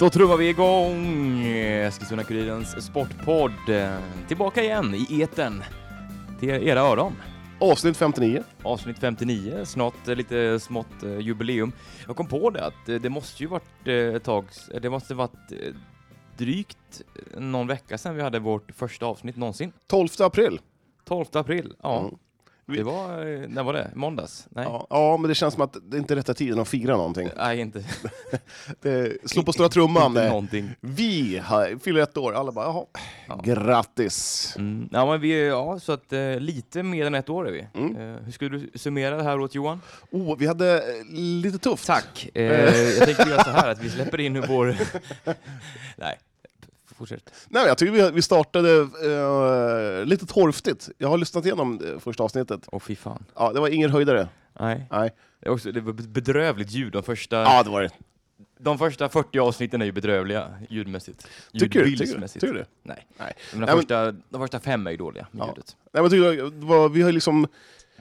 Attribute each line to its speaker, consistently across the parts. Speaker 1: Då trummar vi igång eh, Eskilstuna-Kurirens Sportpodd. eh, Tillbaka igen i etern till era öron.
Speaker 2: Avsnitt 59.
Speaker 1: Avsnitt 59, snart eh, lite smått eh, jubileum. Jag kom på det att eh, det måste ju varit eh, ett tag, s- eh, det måste varit eh, drygt eh, någon vecka sedan vi hade vårt första avsnitt någonsin.
Speaker 2: 12 april.
Speaker 1: 12 april, ja.
Speaker 2: Mm. Vi-
Speaker 1: Det var, eh, när var det? Måndags? Nej.
Speaker 2: Ja, ja, men det känns som att det inte är rätta tiden att fira någonting.
Speaker 1: Nej, inte,
Speaker 2: Det, slå på stora trumman.
Speaker 1: inte
Speaker 2: eh,
Speaker 1: någonting.
Speaker 2: Vi har, fyller ett år. Alla bara, jaha.
Speaker 1: Ja.
Speaker 2: Grattis.
Speaker 1: Mm. Ja, men vi, är- ja, så att eh, lite mer än ett år är vi.
Speaker 2: Mm.
Speaker 1: Eh, hur skulle du summera det här åt Johan?
Speaker 2: Oh, vi hade eh, lite tufft.
Speaker 1: Tack! Eh, jag tänkte göra så här att vi släpper in vår... Nej, fortsätt.
Speaker 2: Nej, men jag tycker vi, vi startade eh, lite torftigt. Jag har lyssnat igenom eh, första avsnittet.
Speaker 1: Åh fy fan.
Speaker 2: Ja, det var ingen höjdare.
Speaker 1: Nej.
Speaker 2: Nej.
Speaker 1: Det, är också, det var bedrövligt ljud. De första,
Speaker 2: Ja, det var det.
Speaker 1: de första 40 avsnitten är ju bedrövliga ljudmässigt.
Speaker 2: Tycker du? Tycker du?
Speaker 1: Ljudbildsmässigt.
Speaker 2: Tycker du?
Speaker 1: Nej.
Speaker 2: Nej.
Speaker 1: Men de,
Speaker 2: Nej, men-
Speaker 1: första, de första fem är ju dåliga med
Speaker 2: Ja.
Speaker 1: ljudet.
Speaker 2: Nej, men tycker jag, det var, vi har ju liksom...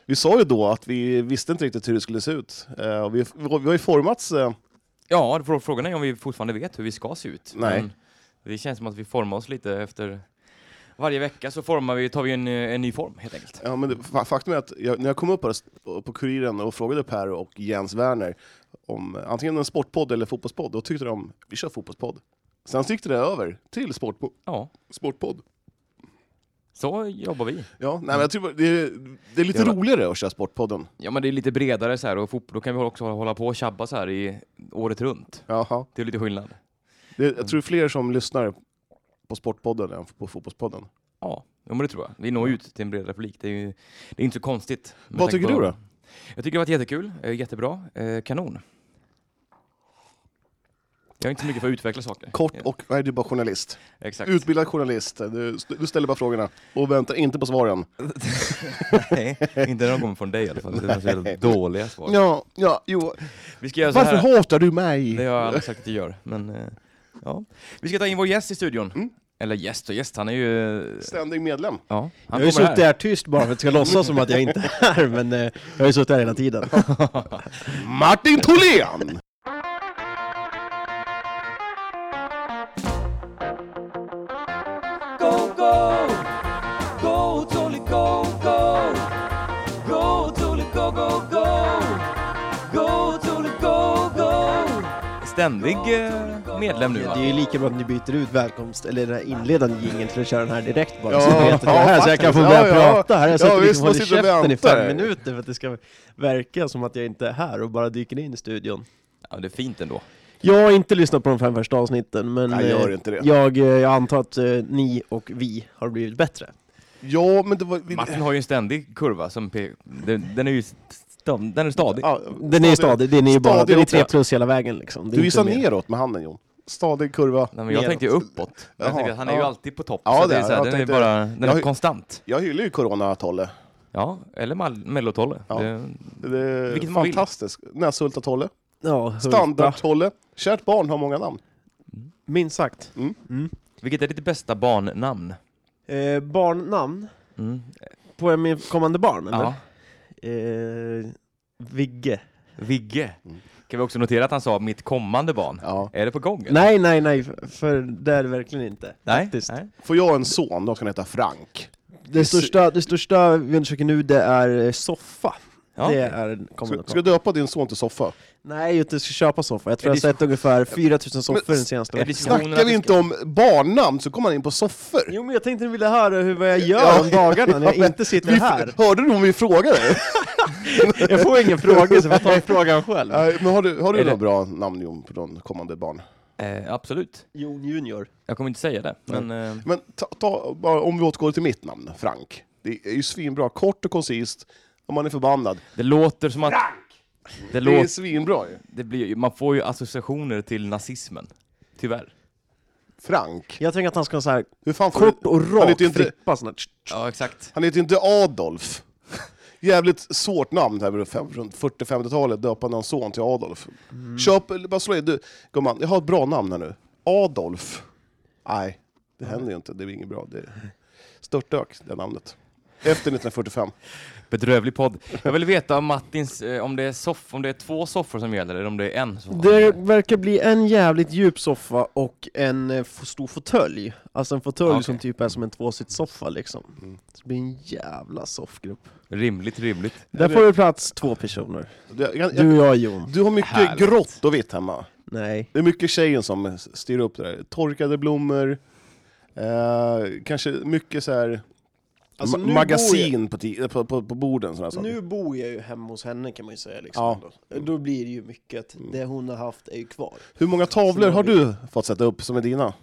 Speaker 2: Vi sa ju då att vi visste inte riktigt hur det skulle se ut. Eh, och vi, vi har ju formats... eh,
Speaker 1: Ja, frå- frågan är om vi fortfarande vet hur vi ska se ut.
Speaker 2: Nej.
Speaker 1: Men det känns som att vi formar oss lite efter... Varje vecka så formar vi, tar vi en, eh, en ny form helt enkelt.
Speaker 2: Ja, men det, fa- faktum är att jag, när jag kom upp här på Kuriren och frågade Per och Jens Werner om eh, antingen en sportpodd eller fotbollspodd, då tyckte de vi kör fotbollspodd. Sen så gick det över till sportpo-
Speaker 1: Ja,
Speaker 2: sportpodd.
Speaker 1: så jobbar vi.
Speaker 2: Ja, nej, men jag tror det, är, det är lite
Speaker 1: Det var-
Speaker 2: roligare att köra sportpodden.
Speaker 1: Ja, men det är lite bredare så här och fotboll, då kan vi också hålla på och tjabba så här i året runt.
Speaker 2: Jaha.
Speaker 1: Det är lite skillnad.
Speaker 2: Det,
Speaker 1: Mm.
Speaker 2: jag tror det är fler som lyssnar på sportpodden än på fotbollspodden.
Speaker 1: Ja, ja, men det tror jag. Vi når ut till en bredare publik. Det är ju det är inte så konstigt. med
Speaker 2: Vad
Speaker 1: tanke
Speaker 2: tycker
Speaker 1: på-
Speaker 2: du då?
Speaker 1: Jag tycker det har varit jättekul, eh, jättebra, eh, kanon. Jag är inte så mycket för att utveckla saker.
Speaker 2: Kort
Speaker 1: Ja,
Speaker 2: och, nej, du är bara journalist.
Speaker 1: Exakt.
Speaker 2: Utbildad journalist. Du, du ställer bara frågorna och väntar inte på svaren.
Speaker 1: Nej, inte när de kommer från dig i alla fall. Det var så jävla dåliga svar.
Speaker 2: Ja, ja, jo.
Speaker 1: Vi ska göra så
Speaker 2: Varför
Speaker 1: här.
Speaker 2: hatar du mig?
Speaker 1: Det har jag aldrig sagt att jag gör. Men, eh, ja. Vi ska ta in vår gäst i studion. Eller gäst och gäst, han är ju... eh,
Speaker 2: Mm. Ständig medlem.
Speaker 1: Ja, han
Speaker 3: Jag har
Speaker 1: kommer
Speaker 3: ju suttit
Speaker 1: här.
Speaker 3: här tyst bara för att jag ska låtsas som att jag inte är här, men eh, jag har ju suttit här hela tiden.
Speaker 2: Martin Tholén!
Speaker 4: go, go, go, Tolly, go, go, go, Tolly, go, go, go, go, Tolly, go, go.
Speaker 1: Ständig eh, medlem nu
Speaker 3: Det
Speaker 1: va?
Speaker 3: är ju lika bra att ni byter ut välkomst, eller den här inledande jingeln till att köra den här direkt bara,
Speaker 2: Ja,
Speaker 3: så ni vet att jag är
Speaker 2: ja,
Speaker 3: här, så jag kan få
Speaker 2: faktiskt.
Speaker 3: börja
Speaker 2: Ja, ja.
Speaker 3: prata. Här.
Speaker 2: Ja,
Speaker 3: Jag satt och
Speaker 2: visst,
Speaker 3: liksom
Speaker 2: man
Speaker 3: håller
Speaker 2: sitter och
Speaker 3: käften i
Speaker 2: väntar.
Speaker 3: fem minuter för att det ska verka som att jag inte är här och bara dyker in i studion.
Speaker 1: Ja, det är fint ändå.
Speaker 3: Jag har inte lyssnat på de fem första avsnitten, men
Speaker 2: Nej, gör
Speaker 3: eh,
Speaker 2: inte det.
Speaker 3: Jag, eh, jag antar att eh, ni och vi har blivit bättre.
Speaker 2: Ja, men det var... Vi,
Speaker 1: Martin har ju en ständig kurva som pe- den, den är ju st- den är stadig.
Speaker 2: ja,
Speaker 3: Den är stadig, den är ju bara,
Speaker 2: stadig
Speaker 3: den är
Speaker 2: uppåt.
Speaker 3: tre plus hela vägen liksom. Det är
Speaker 2: Du visar
Speaker 3: inte mer.
Speaker 2: neråt med handen Jon. Stadig kurva.
Speaker 1: Nej, men jag tänkte ju uppåt. Jag
Speaker 2: Jaha,
Speaker 1: tänkte att han är ju
Speaker 2: ja.
Speaker 1: alltid på topp.
Speaker 2: Ja,
Speaker 1: så det
Speaker 2: det
Speaker 1: är
Speaker 2: är-
Speaker 1: så här,
Speaker 2: jag
Speaker 1: den är ju
Speaker 2: tänkte-
Speaker 1: bara den
Speaker 2: jag
Speaker 1: är
Speaker 2: har-
Speaker 1: konstant.
Speaker 2: Jag hyllar ju Corona-Tolle.
Speaker 1: Ja, eller mal- Mellotolle.
Speaker 2: Ja.
Speaker 1: Det-
Speaker 2: Det är
Speaker 1: Vilket man vill.
Speaker 2: fantastiskt. Näshulta-Tolle.
Speaker 3: Ja, hur-
Speaker 2: Standard-Tolle. Kärt barn har många namn.
Speaker 3: Minst sagt.
Speaker 2: Mm.
Speaker 1: Vilket är ditt bästa barnnamn?
Speaker 3: Eh, barnnamn?
Speaker 1: Mm.
Speaker 3: På min kommande barn eller?
Speaker 1: Ja.
Speaker 3: Eh, Vigge.
Speaker 1: Vigge. Kan vi också notera att han sa mitt kommande barn?
Speaker 2: Ja.
Speaker 1: Är det på gång? eller?
Speaker 3: Nej, nej, nej, f- för det är det verkligen inte.
Speaker 1: Nej.
Speaker 3: faktiskt.
Speaker 1: Nej.
Speaker 2: Får jag en son, då ska han heta Frank.
Speaker 3: Det, största, det största vi undersöker nu det är eh, soffa.
Speaker 1: Ja.
Speaker 3: Det är
Speaker 2: Ska,
Speaker 3: kommande
Speaker 2: ska du
Speaker 3: barn.
Speaker 2: döpa din son till Soffa?
Speaker 3: Nej, inte ska köpa soffa. Jag tror
Speaker 1: Är
Speaker 3: jag
Speaker 1: det-
Speaker 3: har sett ungefär 4000 soffor den senaste
Speaker 1: är det
Speaker 3: veckan.
Speaker 1: så- Tonen
Speaker 2: Snackar
Speaker 1: att vi
Speaker 2: vi inte om barnnamn så kommer han in på soffor.
Speaker 3: Jo, men jag tänkte ni ville höra hur, vad jag gör om dagarna när jag inte sitter
Speaker 2: Vi,
Speaker 3: här.
Speaker 2: hörde du om vi frågade?
Speaker 3: Jag får ingen fråga, så jag får ta frågan själv.
Speaker 2: Nej, men har du, har
Speaker 1: Är
Speaker 2: du
Speaker 1: det-
Speaker 2: några bra namn Jon på de kommande barn?
Speaker 1: Eh, absolut.
Speaker 3: Jon Junior.
Speaker 1: Jag kommer inte säga det. Men, eh,
Speaker 2: Men ta, ta, bara om vi återgår till mitt namn, Frank. Det är ju svinbra, kort och koncist, och man är förbannad.
Speaker 1: det låter som att... Det
Speaker 2: Det är
Speaker 1: låter,
Speaker 2: svinbra ju.
Speaker 1: det blir, ju- man får ju associationer till nazismen. Tyvärr.
Speaker 2: Frank.
Speaker 3: Jag tänker att han ska ha så här
Speaker 2: Hur fan får
Speaker 3: kort
Speaker 2: du-
Speaker 3: och
Speaker 2: Han
Speaker 3: rak
Speaker 2: heter ju inte,
Speaker 3: frippa sån här.
Speaker 1: Ja, exakt.
Speaker 2: han heter ju inte Adolf. Jävligt svårt namn här på fem- från 40-50-talet, döpa någon son till Adolf. Köp, eller bara slå i, du, gumman, jag har ett bra namn här nu. Adolf. Nej, det händer ju inte, det blir inget bra. Det är störtdök, det namnet. Efter 1945.
Speaker 1: Bedrövlig podd. Jag vill veta om Martins, eh, om det är, soff, om det är två soffor som gäller eller om det är en soffa. som
Speaker 3: Det
Speaker 1: gäller.
Speaker 3: verkar bli en jävligt djup soffa och en eh, f- stor fåtölj. Alltså en fåtölj
Speaker 1: Okej.
Speaker 3: som typ är som en tvåsitssoffa liksom.
Speaker 2: Mm.
Speaker 3: Så det blir en jävla soffgrupp.
Speaker 1: Rimligt, rimligt.
Speaker 3: Där får det plats två personer.
Speaker 2: Du, jag, jag,
Speaker 3: Du och jag Jon.
Speaker 2: du har mycket
Speaker 3: Härligt.
Speaker 2: grått och vitt hemma.
Speaker 3: Nej.
Speaker 2: Det är mycket tjejen som styr upp det där. Torkade blommor, eh, kanske mycket så här
Speaker 3: Alltså,
Speaker 2: ma-
Speaker 3: nu
Speaker 2: magasin på, ti- på, på, på borden. Sådana saker.
Speaker 3: Nu bor jag ju hemma hos henne kan man ju säga liksom.
Speaker 2: Alltså, Ja. Mm.
Speaker 3: Då. då blir det ju mycket att det hon har haft är ju kvar.
Speaker 2: Hur många tavlor har du fått sätta upp som är dina?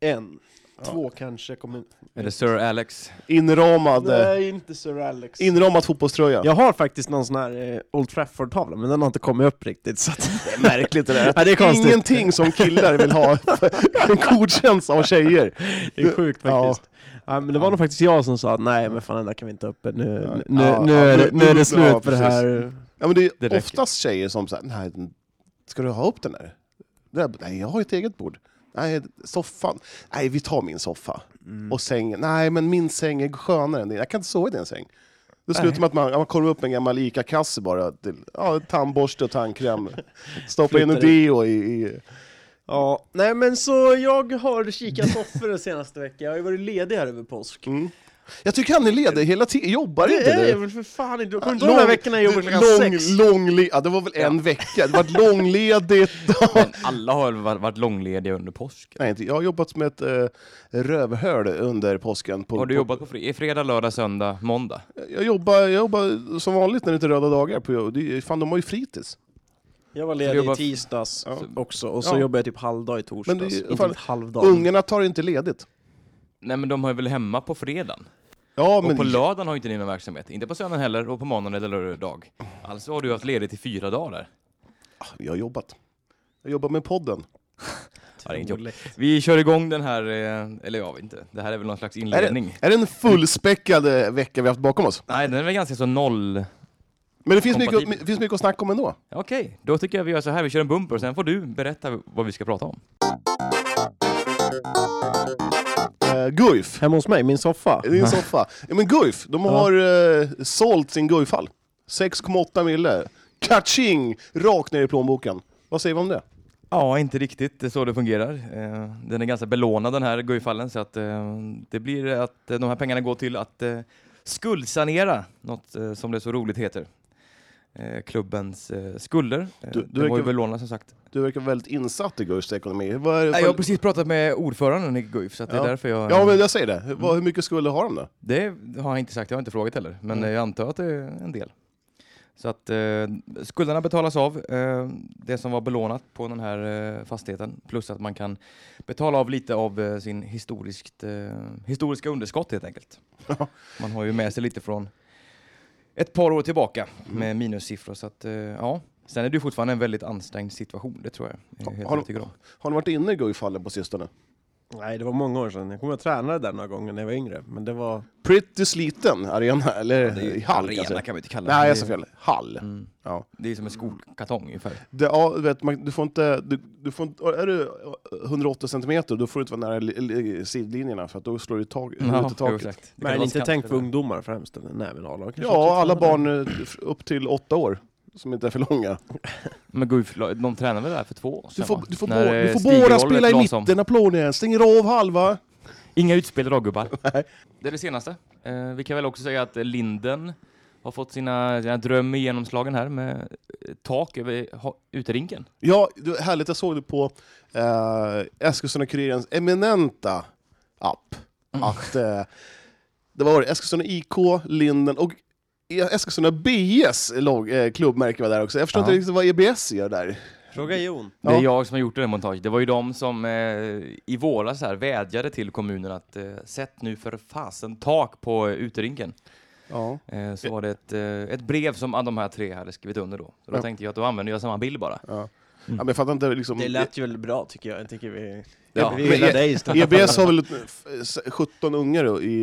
Speaker 3: En, två kanske kommer...
Speaker 1: Är det Sir Alex?
Speaker 2: Inramad, eh,
Speaker 3: Nej, inte Sir Alex.
Speaker 2: inramad fotbollströja.
Speaker 3: Jag har faktiskt någon sån här eh, Old Trafford-tavla, men den har inte kommit upp riktigt så att...
Speaker 2: Det är märkligt det där.
Speaker 3: Ja, det är konstigt.
Speaker 2: Ingenting som killar vill ha godkänns av tjejer.
Speaker 3: Det är sjukt
Speaker 2: Ja.
Speaker 3: faktiskt. Ja. men det var nog faktiskt jag som sa nej men fan den där kan vi inte ha uppe nu, nu,
Speaker 2: Ja,
Speaker 3: nu,
Speaker 2: ja,
Speaker 3: är,
Speaker 2: nu-
Speaker 3: det, nu är
Speaker 2: nu-
Speaker 3: det slut
Speaker 2: ja,
Speaker 3: på det här.
Speaker 2: Ja, men det är
Speaker 1: Det räcker.
Speaker 2: oftast tjejer som säger nej, den- ska du ha upp den där? Det där- Nej, jag har ett eget bord. Nej, soffan. Nej, vi tar min soffa.
Speaker 3: Mm.
Speaker 1: Mm.
Speaker 2: Och sängen. Nej, men min säng är skönare än din. Jag kan inte sova i din säng. Det slutar med att man, man kollar upp en gammal ICA-kasse bara. Till, ja, tandborste och tandkräm. Stoppa in en
Speaker 3: Flyttar
Speaker 2: deo i... i
Speaker 3: Ja, nej men så jag har kikat soffor den senaste veckan, jag har ju varit ledig här över påsk.
Speaker 2: mm. Jag tycker han är ledig hela tiden. Jobbar
Speaker 3: Det
Speaker 2: inte
Speaker 3: är
Speaker 2: du?
Speaker 3: jag väl för fan inte, kommer du inte ihåg de här veckorna jag jobbade klockan
Speaker 2: lång,
Speaker 3: sex?
Speaker 2: lång, le- ja, det var väl en vecka, det var ett långledigt.
Speaker 1: Men alla har väl va- varit långlediga under påsken?
Speaker 2: Nej, inte. jag har jobbat som ett eh, rövhöl under påsken. På,
Speaker 1: Har du
Speaker 2: på,
Speaker 1: jobbat på fre- fredag, lördag, söndag, måndag?
Speaker 2: Jag jobbar, jag jobbar som vanligt när det inte är röda dagar. På, jobb. det, är- fan, de har ju fritids.
Speaker 3: Jag var
Speaker 1: Så
Speaker 3: ledig
Speaker 1: jobbar-
Speaker 3: i tisdags
Speaker 2: Ja.
Speaker 3: också, och så
Speaker 2: Ja.
Speaker 3: jobbade jag typ halvdag i torsdags.
Speaker 2: Men det är ju-
Speaker 3: inte
Speaker 2: fan,
Speaker 3: typ halvdag.
Speaker 2: Ungarna tar inte ledigt.
Speaker 1: Nej men de har ju väl hemma på fredagen?
Speaker 2: Ja,
Speaker 1: Och
Speaker 2: men
Speaker 1: på lördagen har ju inte ni någon verksamhet. Inte på söndagen heller och på måndagen eller lördag. Alltså har du haft ledigt i fyra dagar.
Speaker 2: jag har jobbat. Jag jobbar med podden.
Speaker 1: Ja, det är inget jobb. Vi kör igång den här, eh, eller jag vet inte, det här är väl någon slags
Speaker 2: Är
Speaker 1: inledning.
Speaker 2: det, är det en fullspäckad eh, vecka vi har haft bakom oss?
Speaker 1: Nej, den är väl ganska så noll...
Speaker 2: Men det finns mycket,
Speaker 1: Kompatibel.
Speaker 2: det finns mycket att snacka om ändå.
Speaker 1: Okej, då tycker jag vi gör så här, vi kör en bumper och sen får du berätta vad vi ska prata om.
Speaker 2: Eh, Guif,
Speaker 3: Hemma hos mig, min soffa.
Speaker 2: det är en soffa. Ja, men Guif, de har eh, sålt sin Guifhall. 6,8 mille. Catching! Rakt ner i plånboken. Vad säger vi om det?
Speaker 1: Ja, inte riktigt det är så det fungerar. Eh, Den är ganska belånad den här Guifallen så att eh, det blir att eh, de här pengarna går till att eh, skuldsanera något eh, som det så roligt heter. Eh, Klubbens eh, skulder.
Speaker 2: Du-
Speaker 1: Du, den
Speaker 2: du
Speaker 1: var ju
Speaker 2: verkar-
Speaker 1: belånad som sagt.
Speaker 2: Du verkar väldigt insatt i Guifs ekonomi. Vad är det för-
Speaker 1: Nej, jag har precis pratat med ordföranden i Guif så att det
Speaker 2: Ja.
Speaker 1: är därför jag...
Speaker 2: Ja, men jag säger det. Vad- Hur mycket skulle har de då?
Speaker 1: Det har han inte sagt, jag har inte frågat heller. Men
Speaker 2: Mm.
Speaker 1: jag antar att det är en del. Så att eh, skulderna betalas av, eh, det som var belånat på den här eh, fastigheten. Plus att man kan betala av lite av eh, sin historiskt, eh, historiska underskott helt enkelt. man har ju med sig lite från ett par år tillbaka
Speaker 2: Mm.
Speaker 1: med minussiffror. Så att, eh, ja. Sen är det ju fortfarande en väldigt ansträngd situation, det tror jag. jag. är Helt
Speaker 2: Har-
Speaker 1: övertygad om.
Speaker 2: Har ni varit inne i Guifallen på sistone?
Speaker 3: Nej, det var många år sedan. Jag kommer att träna där några gånger när jag var yngre, men det var...
Speaker 2: Pretty sliten arena, eller i hall kanske?
Speaker 1: Arena kan man inte kalla det.
Speaker 2: alltså. Nej, jag
Speaker 1: Det
Speaker 2: sa
Speaker 1: är-
Speaker 2: fel. Hall.
Speaker 1: Mm.
Speaker 2: Ja.
Speaker 1: Det är som en skolkartong ungefär.
Speaker 2: Det, ja, du vet, man, du får inte, du, du får inte, är du 180 centimeter, då får du inte vara nära li, li, sidlinjerna, för att då slår du tag, huvudet i taket.
Speaker 1: exakt. Det kan
Speaker 3: Men
Speaker 1: vara
Speaker 3: inte
Speaker 1: skallt
Speaker 3: tänkt för
Speaker 1: eller-
Speaker 3: ungdomar främst, eller? Nej, men A-lag kanske också
Speaker 2: Ja, alla
Speaker 3: tränar där.
Speaker 2: barn eh, f- upp till åtta år, som inte är för långa.
Speaker 1: Men gud, de tränade väl där för två år
Speaker 2: Du
Speaker 1: sedan,
Speaker 2: får,
Speaker 1: va?
Speaker 2: du får,
Speaker 1: När,
Speaker 2: bå- du
Speaker 1: eh,
Speaker 2: får båda
Speaker 1: Stigegolvet
Speaker 2: spela i
Speaker 1: lades om.
Speaker 2: mitten, applåden, stänger av halva.
Speaker 1: Inga utspel idag gubbar. Det är det senaste. Eh, vi kan väl också säga att eh, Linden har fått sina, sina dröm genomslagen här med eh, tak över ha, uterinken.
Speaker 2: Ja, det var härligt. Jag såg det på eh, Eskilstuna-Kurirens eminenta app.
Speaker 3: Mm.
Speaker 2: Att, eh, det var Eskilstuna IK, Linden och E- Eskilstuna BS log- eh, klubbmärke var där också. Jag förstår
Speaker 1: Ja.
Speaker 2: inte riktigt vad EBS gör där.
Speaker 3: Fråga Jon.
Speaker 2: Ja.
Speaker 1: Det är jag som har gjort det där montaget. Det var ju de som eh, i våras här vädjade till kommunen att eh, sätt nu för fasen tak på eh, uterinken.
Speaker 2: Ja.
Speaker 1: Eh, så var det ett, eh, ett brev som de här tre hade skrivit under då. Så då
Speaker 2: Ja.
Speaker 1: tänkte jag att då använder jag samma bild bara. Mm.
Speaker 2: men jag fattar inte liksom...
Speaker 3: Det lät ju väldigt bra tycker jag, jag tycker vi...
Speaker 1: Ja,
Speaker 3: vi
Speaker 2: men- E-
Speaker 3: gillar dig istället.
Speaker 2: EBS har väl ett- 17 ungar i, i,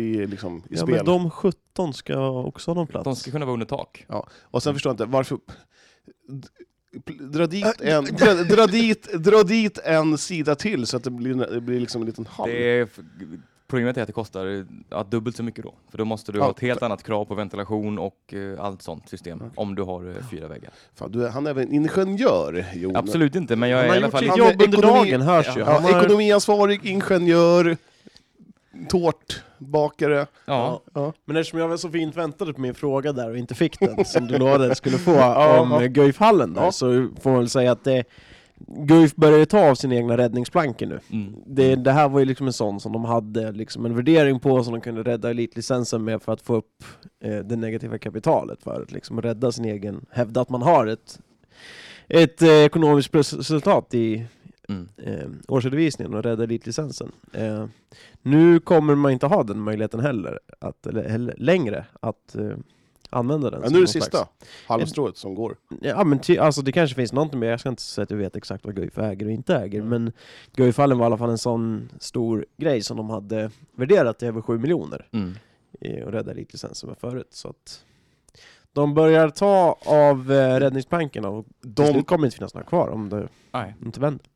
Speaker 2: i, liksom, i
Speaker 3: Ja
Speaker 2: spel.
Speaker 3: men de 17 ska också ha någon plats.
Speaker 1: De ska kunna vara under tak.
Speaker 2: Och sen förstår jag inte varför... d- Dra dit, en,
Speaker 3: Äh,
Speaker 2: dra, dra, dit, dra dit en sida till så att det blir, det blir liksom en liten hall.
Speaker 1: Det är f- Problemet är att det kostar eh, ja, dubbelt så mycket då. För då måste du
Speaker 2: Ja,
Speaker 1: ha ett helt annat krav på ventilation och eh, allt sånt system om du har eh, fyra väggar.
Speaker 2: Fan, du, är- han är väl en ingenjör, Jon?
Speaker 1: Absolut inte, men jag
Speaker 3: Han
Speaker 1: är
Speaker 3: har
Speaker 1: i alla
Speaker 3: gjort
Speaker 1: fall...
Speaker 2: Han
Speaker 3: sitt
Speaker 2: är
Speaker 3: jobb under
Speaker 2: ekonomi-
Speaker 3: dagen, hörs ju.
Speaker 2: Ja,
Speaker 3: Han har-
Speaker 2: Ekonomiansvarig, ingenjör, tårtbakare.
Speaker 1: Ja.
Speaker 2: Ja.
Speaker 3: Men eftersom jag så fint väntade på min fråga där och inte fick den som du lovade att jag skulle få
Speaker 2: Ja,
Speaker 3: om
Speaker 2: ja.
Speaker 3: Guifhallen där
Speaker 2: Ja.
Speaker 3: så får man väl säga att det, Guif börjar ju ta av sina egna räddningsplankor nu.
Speaker 1: Mm.
Speaker 3: Det, det här var ju liksom en sån som de hade liksom en värdering på som de kunde rädda elitlicensen med för att få upp eh, det negativa kapitalet för att liksom rädda sin egen, hävda att man har ett, ett eh, ekonomiskt resultat i
Speaker 1: Mm.
Speaker 3: eh, årsredovisningen och rädda elitlicensen. Eh, nu kommer man inte ha den möjligheten heller, att, eller, eller, längre, att eh, använda den.
Speaker 2: Ja,
Speaker 3: som
Speaker 2: nu är det
Speaker 3: någon
Speaker 2: sista
Speaker 3: slags-
Speaker 2: halmstrået som går.
Speaker 3: Ja, men ty, alltså det kanske finns någonting mer, jag ska inte säga att jag vet exakt vad Guif äger och inte äger, men Guifallen var i alla fall en sån stor grej som de hade värderat till över 7 miljoner
Speaker 1: Mm.
Speaker 3: eh, och rädda elitlicensen med förut. Så att de börjar ta av eh, räddningsplankorna och de... till
Speaker 2: De,
Speaker 3: slut kommer det inte finnas några kvar om det
Speaker 1: Nej.
Speaker 3: inte vänder.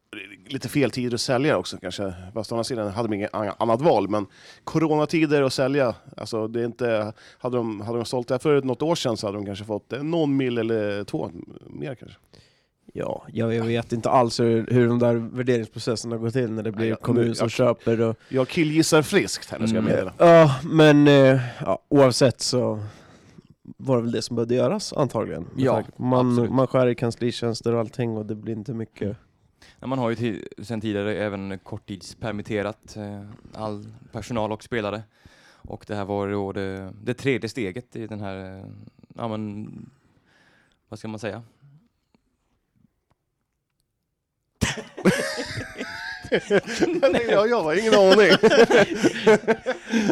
Speaker 2: lite fel tider att sälja också kanske. Fast å andra sidan hade de inget an- annat val. Men coronatider att sälja, alltså det är inte... Hade de, hade de sålt det här för något år sedan så hade de kanske fått eh, någon mil eller två mer kanske.
Speaker 3: Ja, jag, jag vet inte alls hur, hur de där värderingsprocesserna går till när det blir
Speaker 2: Nej, jag-
Speaker 3: kommun
Speaker 2: nu-
Speaker 3: som
Speaker 2: jag-
Speaker 3: köper och...
Speaker 2: Jag killgissar friskt här nu ska jag
Speaker 1: Mm.
Speaker 2: meddela.
Speaker 3: Ja, men eh, ja, oavsett så var det väl det som behövde göras antagligen. Med
Speaker 1: Ja,
Speaker 3: tanke på- man,
Speaker 1: absolut.
Speaker 3: man skär i kanslitjänster och allting och det blir inte mycket.
Speaker 1: Ja, Man har ju ti- sedan tidigare även korttidspermitterat eh, all personal och spelare. Och det här var då det, det tredje steget i den här, eh, ja men, vad ska man säga?
Speaker 2: Nej, jag, jag har ingen aning.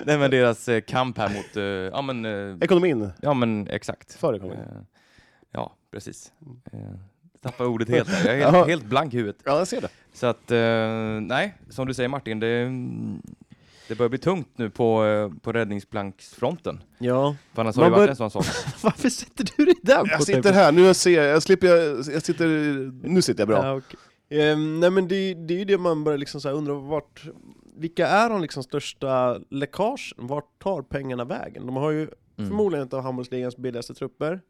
Speaker 1: Nej men deras eh, kamp här mot, eh, ja men, eh,
Speaker 2: Ekonomin,
Speaker 1: ja men exakt.
Speaker 2: före ekonomin.
Speaker 1: Eh, ja, precis. Eh, tappade ordet helt där, jag är
Speaker 2: Jaha.
Speaker 1: helt, helt blank i huvudet.
Speaker 2: Ja, jag ser det.
Speaker 1: Så att, eh, nej, som du säger Martin, det, det börjar bli tungt nu på, eh, på räddningsplanksfronten.
Speaker 3: Ja.
Speaker 1: För annars
Speaker 3: Man
Speaker 1: har det varit
Speaker 3: bör-
Speaker 1: en sån sak.
Speaker 3: Varför sätter du dig där?
Speaker 2: Jag sitter här, nu ser jag, jag slipper, jag, jag sitter, nu sitter jag bra.
Speaker 3: Ja, okej. Ehm, nej men det, det är ju det man börjar liksom så här undra vart, vilka är de liksom största läckagen? Vart tar pengarna vägen? De har ju
Speaker 1: Mm.
Speaker 3: förmodligen inte av handbollsligans billigaste trupper.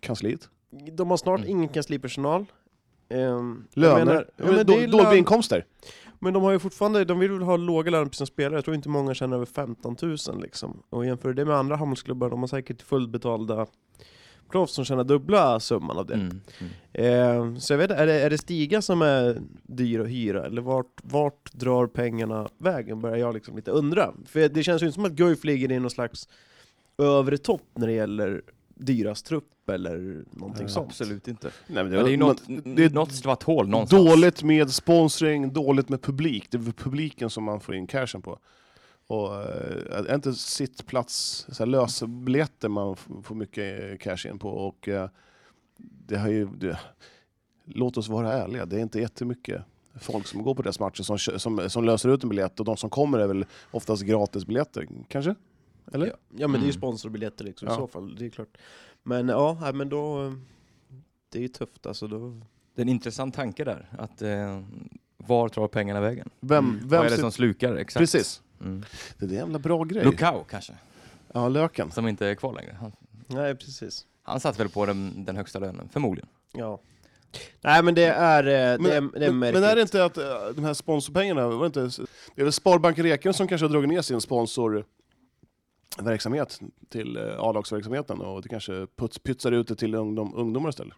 Speaker 2: Kansliet.
Speaker 3: De har snart
Speaker 1: Mm.
Speaker 3: ingen kanslipersonal. Ehm, jag
Speaker 2: Löner.
Speaker 3: menar- ja, men, det är
Speaker 2: då,
Speaker 3: lön,
Speaker 2: inkomster.
Speaker 3: men de har ju fortfarande, de vill väl ha låga löner på sina spelare, jag tror inte många tjänar över 15 000 liksom. Och jämför det med andra handbollsklubbar, de har säkert fullbetalda proffs som tjänar dubbla summan av det.
Speaker 1: Mm. Mm.
Speaker 3: Ehm, så jag vet är det, är det Stiga som är dyr att hyra? Eller vart, vart drar pengarna vägen? Börjar jag liksom lite undra. För det känns ju inte som att Guif ligger i någon slags övre topp när det gäller dyrast trupp eller någonting
Speaker 2: Ja,
Speaker 3: sånt.
Speaker 1: Absolut inte.
Speaker 2: Nej, men
Speaker 1: Men det är ju något,
Speaker 2: men det är
Speaker 1: något svart hål någonstans.
Speaker 2: dåligt med sponsring, dåligt med publik. Det är för publiken som man får in cashen på. Och eh, är inte sittplats, så här lösbiljetter man f- får mycket eh, cash in på. Och eh, det har ju, det, låt oss vara ärliga, det är inte jättemycket folk som går på deras matcher som, kö- som, som löser ut en biljett och de som kommer är väl oftast gratisbiljetter, kanske? Eller?
Speaker 3: Ja, ja men det är ju
Speaker 1: Mm.
Speaker 3: sponsorbiljetter liksom, i
Speaker 2: Ja.
Speaker 3: så fall, det är klart. Men ja, nej, men då... eh, Det är ju tufft alltså. Då...
Speaker 1: Det är en intressant tanke där. Att, eh, var tar pengarna vägen?
Speaker 2: Vem,
Speaker 1: Mm. Vad
Speaker 2: vem
Speaker 1: är det
Speaker 2: sit-
Speaker 1: som slukar? Exakt.
Speaker 2: Precis.
Speaker 1: Mm.
Speaker 2: Det är en jävla bra grej.
Speaker 1: Lukao kanske,
Speaker 2: Ja, löken.
Speaker 1: som inte är kvar längre. Han,
Speaker 3: Nej, precis.
Speaker 1: han satt väl på den, den högsta lönen, förmodligen.
Speaker 3: Ja. Nej men det är, eh, det är, det är
Speaker 2: men,
Speaker 3: märkligt.
Speaker 2: men är det inte att eh, de här sponsorpengarna, var det, inte, det är väl Sparbanken Reken som kanske har dragit ner sin sponsorverksamhet till eh, A-lagsverksamheten och det kanske puts, pytsar ut det till ungdom, ungdomar istället.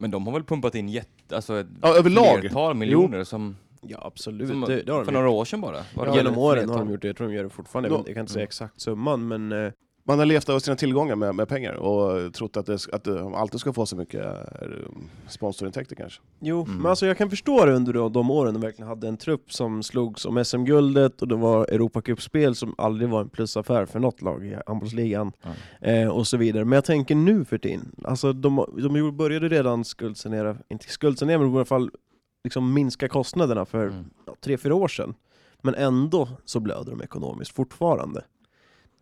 Speaker 1: Men de har väl pumpat in jätte, alltså ett
Speaker 2: Ja, överlag.
Speaker 1: flertal miljoner som,
Speaker 3: Ja absolut,
Speaker 1: som
Speaker 3: det, det har de
Speaker 1: för
Speaker 3: ju.
Speaker 1: några år sedan bara. Var det
Speaker 3: Genom
Speaker 1: väl
Speaker 3: åren
Speaker 1: flertal?
Speaker 3: har de gjort det, jag tror de gör det fortfarande.
Speaker 2: Nå-
Speaker 3: Jag kan inte
Speaker 1: Mm.
Speaker 3: säga exakt summan, men eh,
Speaker 2: Man har levt över sina tillgångar med, med pengar och eh, trott att, det, att de alltid ska få så mycket eh, sponsorintäkter kanske.
Speaker 3: jo,
Speaker 1: Mm.
Speaker 3: men alltså jag kan förstå det under då, de åren de verkligen hade en trupp som slogs om SM-guldet och det var Europacup-spel som aldrig var en plusaffär för något lag i handbollsligan
Speaker 1: Ja.
Speaker 3: eh, och så vidare. Men jag tänker nu för tiden, alltså de, de gjorde- började redan skuldsanera, inte skuldsanera men i alla fall liksom minska kostnaderna för
Speaker 1: Mm.
Speaker 3: ja, tre, fyra år sedan. Men ändå så blöder de ekonomiskt fortfarande.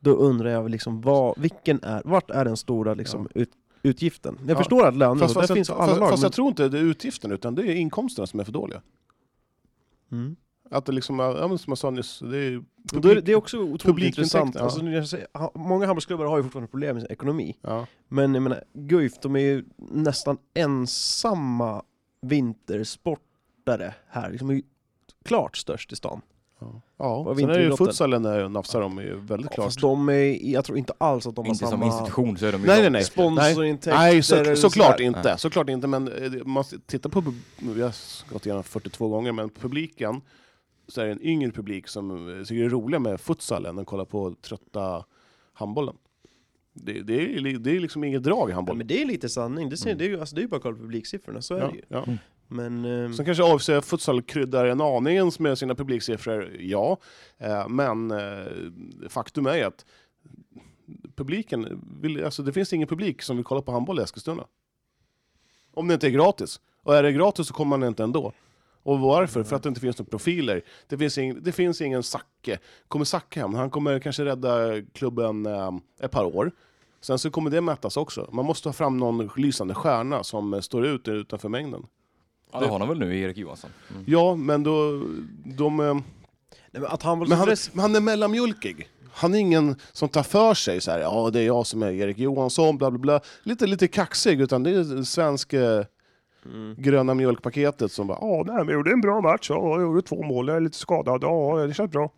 Speaker 3: Då undrar jag liksom, vad, vilken är, vart är den stora liksom, ut, utgiften? Jag
Speaker 2: Ja.
Speaker 3: förstår att löner,
Speaker 2: Fast,
Speaker 3: och där
Speaker 2: fast, jag,
Speaker 3: finns alla
Speaker 2: fast,
Speaker 3: lag.
Speaker 2: fast
Speaker 3: men...
Speaker 2: jag tror inte det är utgiften utan det är inkomsterna som är för dåliga.
Speaker 3: mm.
Speaker 2: Att det liksom, är- ja, men som jag sa nyss, det är ju
Speaker 3: Och då är det, det är också otroligt
Speaker 2: publikintäkter,
Speaker 3: intressant.
Speaker 2: ja.
Speaker 3: Alltså, jag säger, ha- många handbollsklubbar har ju fortfarande problem med sin ekonomi.
Speaker 2: ja.
Speaker 3: Men jag menar, Guif, de är ju nästan ensamma vintersportare här. Liksom, de är ju klart störst i stan.
Speaker 2: Ja,
Speaker 3: Vad
Speaker 2: ja. sen är
Speaker 3: är
Speaker 2: det ju
Speaker 3: vinteridrotten?
Speaker 2: futsalen där jag nafsar om är ju väldigt klart.
Speaker 3: Fast de är, jag tror inte alls att de har
Speaker 1: Inte som
Speaker 3: samma
Speaker 1: institution så är de ju
Speaker 2: Nej, nej,
Speaker 1: långt.
Speaker 2: nej.
Speaker 3: sponsorintäkter.
Speaker 2: Nej, så,
Speaker 3: eller
Speaker 2: såklart
Speaker 3: sådär.
Speaker 2: inte.
Speaker 1: Nej.
Speaker 2: Såklart inte, men eh, det- man tittar på, pub- vi har gått igenom 42 gånger, men publiken, så är det en yngre publik som eh, tycker det är roligare med futsal än att kolla på trötta handbollen. Det, det, är, li- det är liksom inget drag i
Speaker 3: Ja,
Speaker 2: handboll.
Speaker 3: men det är lite sanning. Det, ser, det, är ju, alltså, det är ju bara att kolla på publiksiffrorna, så är
Speaker 2: Ja,
Speaker 3: det ju.
Speaker 2: ja.
Speaker 3: Men... ehm,
Speaker 2: Sen kanske AFC Futsal kryddar en aning med sina publiksiffror, ja. Eh, Men eh, faktum är att publiken vill, alltså det finns ingen publik som vill kolla på handboll i Eskilstuna. Om det inte är gratis. Och är det gratis så kommer man inte ändå. Och varför? För att det inte finns några profiler. Det finns, ing, det finns ingen Zacke. Kommer Zacke hem? Han kommer kanske rädda klubben eh, ett par år. Sen så kommer det mätas också. Man måste ha fram någon lysande stjärna som eh, står ut utanför mängden.
Speaker 1: Ja, det har de väl nu, Erik Johansson.
Speaker 2: Ja, men då... De, eh,
Speaker 3: nej, men att handbolls-
Speaker 2: men han, men han är mellanmjölkig. Han är ingen som tar för sig så här, ja det är jag som är Erik Johansson, bla bla bla. Lite, lite kaxig, utan det är svensk eh,
Speaker 1: Mm.
Speaker 2: gröna mjölkpaketet som bara, ja nej, men jag gjorde en bra match, ja, jag gjorde två mål, jag är lite skadad, ja det känns bra.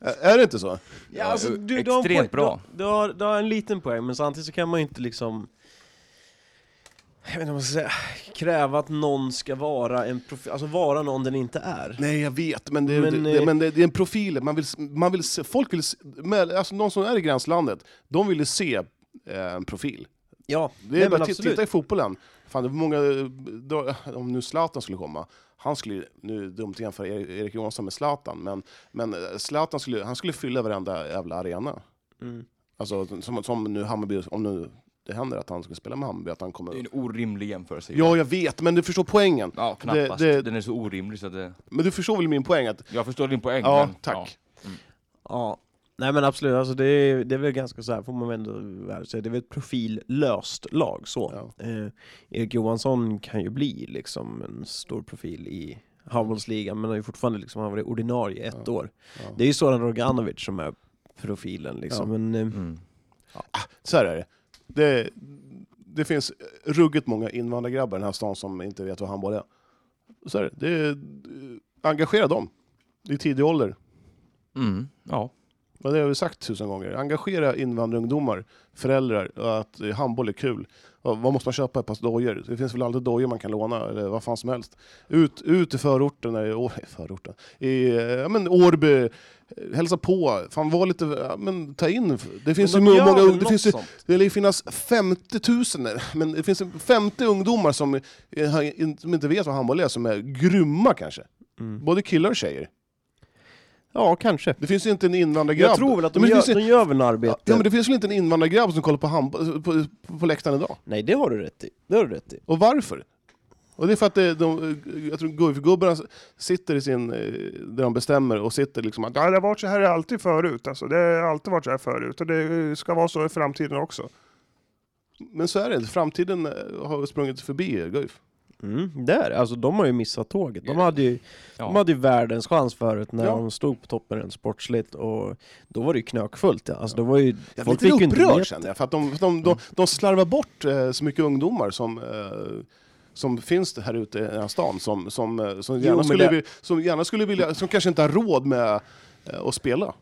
Speaker 2: Ä- Är det inte så?
Speaker 3: Ja, alltså,
Speaker 1: Ja,
Speaker 3: du, du har en
Speaker 1: extremt
Speaker 3: poäng-
Speaker 1: bra.
Speaker 3: Du, du, har, du har en liten poäng, men samtidigt så kan man ju inte liksom... Jag vet inte vad man ska säga. Kräva att någon ska vara en profil, alltså vara någon den inte är.
Speaker 2: Nej jag vet, men det,
Speaker 3: Men,
Speaker 2: det, det,
Speaker 3: eh,
Speaker 2: men det, det är en profil, man vill, man vill se, folk vill, se- med, alltså någon som är i gränslandet, de vill ju se eh, en profil.
Speaker 3: Ja,
Speaker 2: Det är
Speaker 3: nej, men
Speaker 2: bara att
Speaker 3: absolut.
Speaker 2: titta i fotbollen. Fan, det var många, då, om nu Zlatan skulle komma, han skulle, nu är det dumt att jämföra Erik Erik Johansson med Zlatan, men, men eh, Zlatan skulle, han skulle fylla varenda jävla arena.
Speaker 3: Mm.
Speaker 2: Alltså, som, som nu Hammarby, om nu det händer att han ska spela med Hammarby, att han
Speaker 1: Det är
Speaker 2: kommer...
Speaker 1: en orimlig jämförelse.
Speaker 2: Ja, jag vet, men du förstår poängen.
Speaker 1: Ja, knappast.
Speaker 2: Det- det-
Speaker 1: Den är så orimlig så att det...
Speaker 2: Men du förstår väl min poäng? Att,
Speaker 1: Jag förstår din poäng.
Speaker 2: ja,
Speaker 1: men,
Speaker 2: tack.
Speaker 3: Ja. Nej men absolut, alltså det, är, det är väl ganska så här får man väl ändå säga, det är väl ett profillöst lag så. Eh, Erik Johansson kan ju bli liksom en stor profil i handbollsligan men har ju fortfarande liksom, han har varit ordinarie i ett
Speaker 2: Ja.
Speaker 3: år.
Speaker 2: Ja.
Speaker 3: Det är ju Soran Roganovic som är profilen liksom. Men, eh,
Speaker 1: Ja. Mm.
Speaker 2: ah, Så här är det. det. Det finns ruggigt många invandrargrabbar i den här stan som inte vet vad handboll är. Så är det. det är, engagera dem i tidig ålder.
Speaker 1: Mm. Ja.
Speaker 2: Ja, det har vi sagt tusen gånger. Engagera invandrarungdomar, föräldrar, och att eh, handboll är kul. Och vad måste man köpa? Ett par dojor? Det finns väl alltid dojor man kan låna, eller vad fan som helst. Ut, ut i förorten, eller, åh, i förorten, i eh, ja, men, Årby, eh, hälsa på, fan var lite, ja, men, ta in. Det finns ju
Speaker 3: Men de gör
Speaker 2: många,
Speaker 3: väl
Speaker 2: det
Speaker 3: något
Speaker 2: finns ju,
Speaker 3: sånt?
Speaker 2: det lär ju finnas 50 000, nej, men det finns 50 ungdomar som, eh, har in- som inte vet vad handboll är, som är grymma kanske.
Speaker 3: Mm.
Speaker 2: Både killar och tjejer.
Speaker 3: Ja, kanske.
Speaker 2: Det finns ju inte en invandrargrabb.
Speaker 3: Jag tror väl att de,
Speaker 2: Men det
Speaker 3: gör,
Speaker 2: finns ju-
Speaker 3: de gör väl en arbete.
Speaker 2: Ja, men det finns väl inte en invandrargrabb som kollar på, handbo- på, på, på läktaren idag?
Speaker 3: Nej, det har du rätt i. Det har du rätt i.
Speaker 2: Och varför? Och det är för att det, de, eh, jag tror Guif-gubbarna sitter i sin, eh, där de bestämmer och sitter liksom att "Ja, det har varit så här alltid förut, alltså. det har alltid varit så här förut och det eh, ska vara så i framtiden också. Men så är det, framtiden eh, har sprungit förbi eh, Guif.
Speaker 3: Mm, där, alltså de har ju missat tåget. De hade ju,
Speaker 1: Ja.
Speaker 3: de hade ju världens chans förut när
Speaker 2: Ja.
Speaker 3: de stod på toppen rent sportsligt och då var det ju knökfullt. Ja. Alltså, då var ju,
Speaker 2: Jag
Speaker 3: folk
Speaker 2: blir
Speaker 3: fick
Speaker 2: lite
Speaker 3: ju inte Mm.
Speaker 2: upprörd
Speaker 3: med.
Speaker 2: känner jag, för att de, för att de, de, de slarvar bort eh, så mycket ungdomar som, eh, som finns här ute i den här stan, som, som, eh, som, gärna,
Speaker 3: men
Speaker 2: skulle,
Speaker 3: det-
Speaker 2: vi- som gärna skulle vilja, som kanske inte har råd med eh, att spela.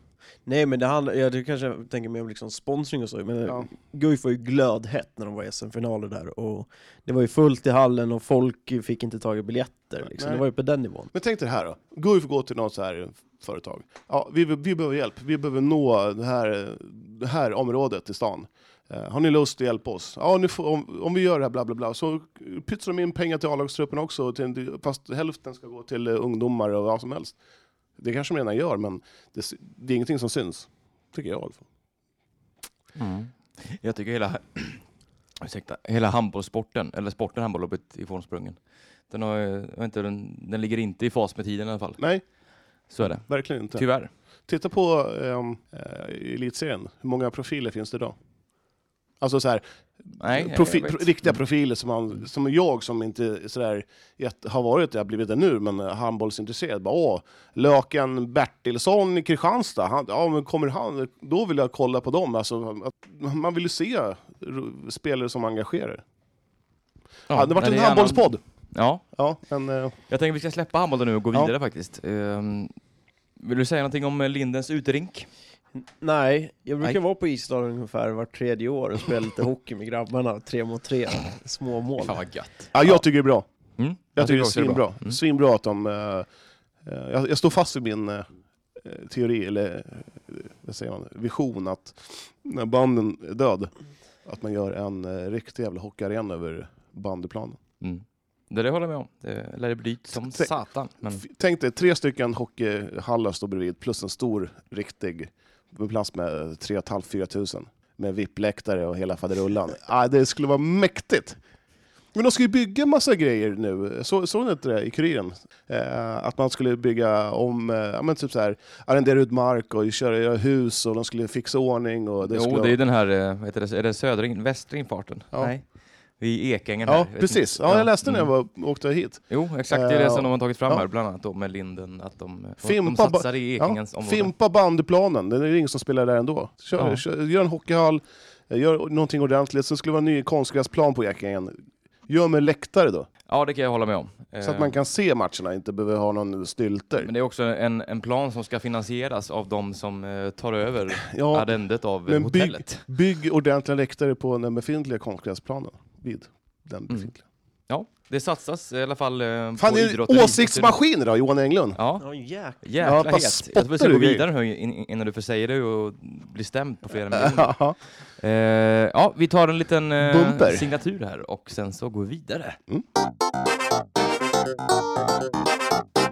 Speaker 3: Nej men det handlar, jag det kanske jag tänker mer om liksom sponsring och så, men
Speaker 2: Ja.
Speaker 3: Guif var ju glödhett när de var i SM-finaler där och det var ju fullt i hallen och folk fick inte tag i biljetter liksom.
Speaker 2: Nej.
Speaker 3: Det var ju på den nivån.
Speaker 2: Men tänk dig det här då, Guif går till något så här företag. Ja, vi, be- vi behöver hjälp, vi behöver nå det här, det här området i stan. Eh, har ni lust att hjälpa oss? Ja, ni får, om, om vi gör det här bla bla bla, så pytsar de in pengar till A-lagstruppen också, till, en- fast hälften ska gå till eh, ungdomar och vad som helst. Det kanske de redan gör, men det, sy- det är ingenting som syns. Tycker jag i alla fall.
Speaker 1: Jag tycker hela, ursäkta, hela handbollssporten, eller sporten handboll har blivit ifrånsprungen. Den, har, ju- jag vet inte, den, den ligger inte i fas med tiden i alla fall.
Speaker 2: Nej,
Speaker 1: Så är det.
Speaker 2: verkligen inte.
Speaker 1: Tyvärr.
Speaker 2: Titta på ehm, eh, elitserien, hur många profiler finns det idag? Alltså så här,
Speaker 1: Nej, jag
Speaker 2: profi-
Speaker 1: vet.
Speaker 2: pro- riktiga profiler som, man, som jag som inte sådär, jätte- har varit det, har blivit det nu, men eh, handbollsintresserad. Bara, åh, Löken Bertilsson i Kristianstad, han, ja, men kommer han, då vill jag kolla på dem. Alltså, att, man vill ju se ro- spelare som engagerar. Ja, det har varit
Speaker 1: nej,
Speaker 2: en
Speaker 1: är
Speaker 2: handbollspodd.
Speaker 1: Annan... Ja,
Speaker 2: Ja, men, eh,
Speaker 1: jag tänker vi ska släppa handbollen nu och gå
Speaker 2: Ja.
Speaker 1: vidare faktiskt. Ehm, vill du säga någonting om eh, Lindens uterink?
Speaker 3: Nej, jag brukar
Speaker 1: Nej.
Speaker 3: vara på Island ungefär vart tredje år och spela lite hockey med grabbarna, tre mot tre, små mål.
Speaker 1: Fan vad gött.
Speaker 2: ja, jag tycker det är bra.
Speaker 1: Mm.
Speaker 2: Jag, tycker det är
Speaker 1: också
Speaker 2: svinbra. Svinbra att de... eh, eh, jag, jag står fast vid min eh, teori, eller eh, vad säger man, vision att när banden är död, att man gör en eh, riktig jävla hockeyarena över bandyplanen.
Speaker 1: Mm. Det, det håller jag med om. Det lär det bli dyrt som
Speaker 2: Tänk-
Speaker 1: satan. Men
Speaker 2: F- Tänk dig tre stycken hockeyhallar står bredvid, plus en stor riktig med plats med 3 500-4 tusen. Med VIP-läktare och hela faderullan. ah, det skulle vara mäktigt! Men de ska ju bygga massa grejer nu. Så, såg ni inte det i Kuriren? Eh, att man skulle bygga om, eh, ja, men typ så här, arrendera ut mark och köra göra hus och de skulle fixa ordning. Och det skulle
Speaker 1: jo, det är den här, eh, vad heter det, är det södra, in, västra infarten?
Speaker 2: Ja.
Speaker 1: Nej. Vid Ekängen
Speaker 2: Ja,
Speaker 1: här. Vet
Speaker 2: precis.
Speaker 1: ni-
Speaker 2: Ja, jag läste när jag
Speaker 1: Mm.
Speaker 2: var, åkte hit.
Speaker 1: Jo, exakt. Det är det
Speaker 2: Eh,
Speaker 1: som de har tagit fram
Speaker 2: ja.
Speaker 1: här, bland annat då med Linden. Att de, och de
Speaker 2: Fimpa ba-
Speaker 1: satsar i
Speaker 2: Ja,
Speaker 1: Ekängens område.
Speaker 2: fimpa bandyplanen, det är ingen som spelar där ändå. Kör,
Speaker 1: Ja.
Speaker 2: kör, gör en hockeyhall, eh, gör någonting ordentligt, sen skulle det vara en ny konstgräsplan på Ekängen. Gör med läktare då,
Speaker 1: Ja, det kan jag hålla med om. Eh,
Speaker 2: så att man kan se matcherna, inte behöver ha någon stylter.
Speaker 1: Men det är också en, en plan som ska finansieras av de som eh, tar över
Speaker 2: Ja,
Speaker 1: arrendet av eh,
Speaker 2: men bygg,
Speaker 1: hotellet.
Speaker 2: bygg ordentliga läktare på den befintliga konstgräsplanen. Vid den befintliga.
Speaker 1: Ja, det satsas i alla fall eh,
Speaker 2: Fan,
Speaker 1: på
Speaker 2: det är
Speaker 1: idrott. Mm. och
Speaker 2: en
Speaker 1: idrott.
Speaker 2: åsiktsmaskin idag, Johan Englund!
Speaker 1: Ja,
Speaker 3: Ja, jäklar.
Speaker 1: jäkla
Speaker 2: bara
Speaker 1: het. Jag tror vi ska
Speaker 2: spottar
Speaker 1: gå
Speaker 2: du grejer.
Speaker 1: vidare nu in- innan du försäger dig och blir stämd på flera miljoner.
Speaker 2: Ja.
Speaker 1: Eh, ja, vi tar en liten eh,
Speaker 2: Bumper. Mm.
Speaker 1: signatur här och sen så går vi vidare.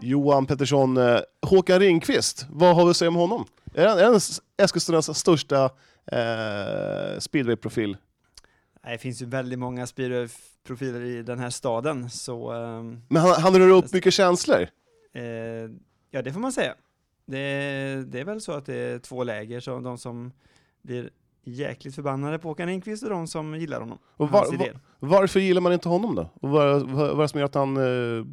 Speaker 2: Johan Pettersson, eh, Håkan Ringqvist, vad har vi att säga om honom? Är han, är han s- Eskilstunas största eh, speedwayprofil?
Speaker 5: Nej, Det finns ju väldigt många speedwayprofiler i den här staden, så ehm,
Speaker 2: Men han, han rör upp mycket känslor.
Speaker 5: eh, ja, det får man säga. Det, det är väl så att det är två läger, så de som blir jäkligt förbannade på Håkan Engqvist och de som gillar honom.
Speaker 2: Och
Speaker 5: hans
Speaker 2: var,
Speaker 5: idéer.
Speaker 2: var, varför gillar man inte honom då? Och vad, vad, vad är det som gör att han... eh, är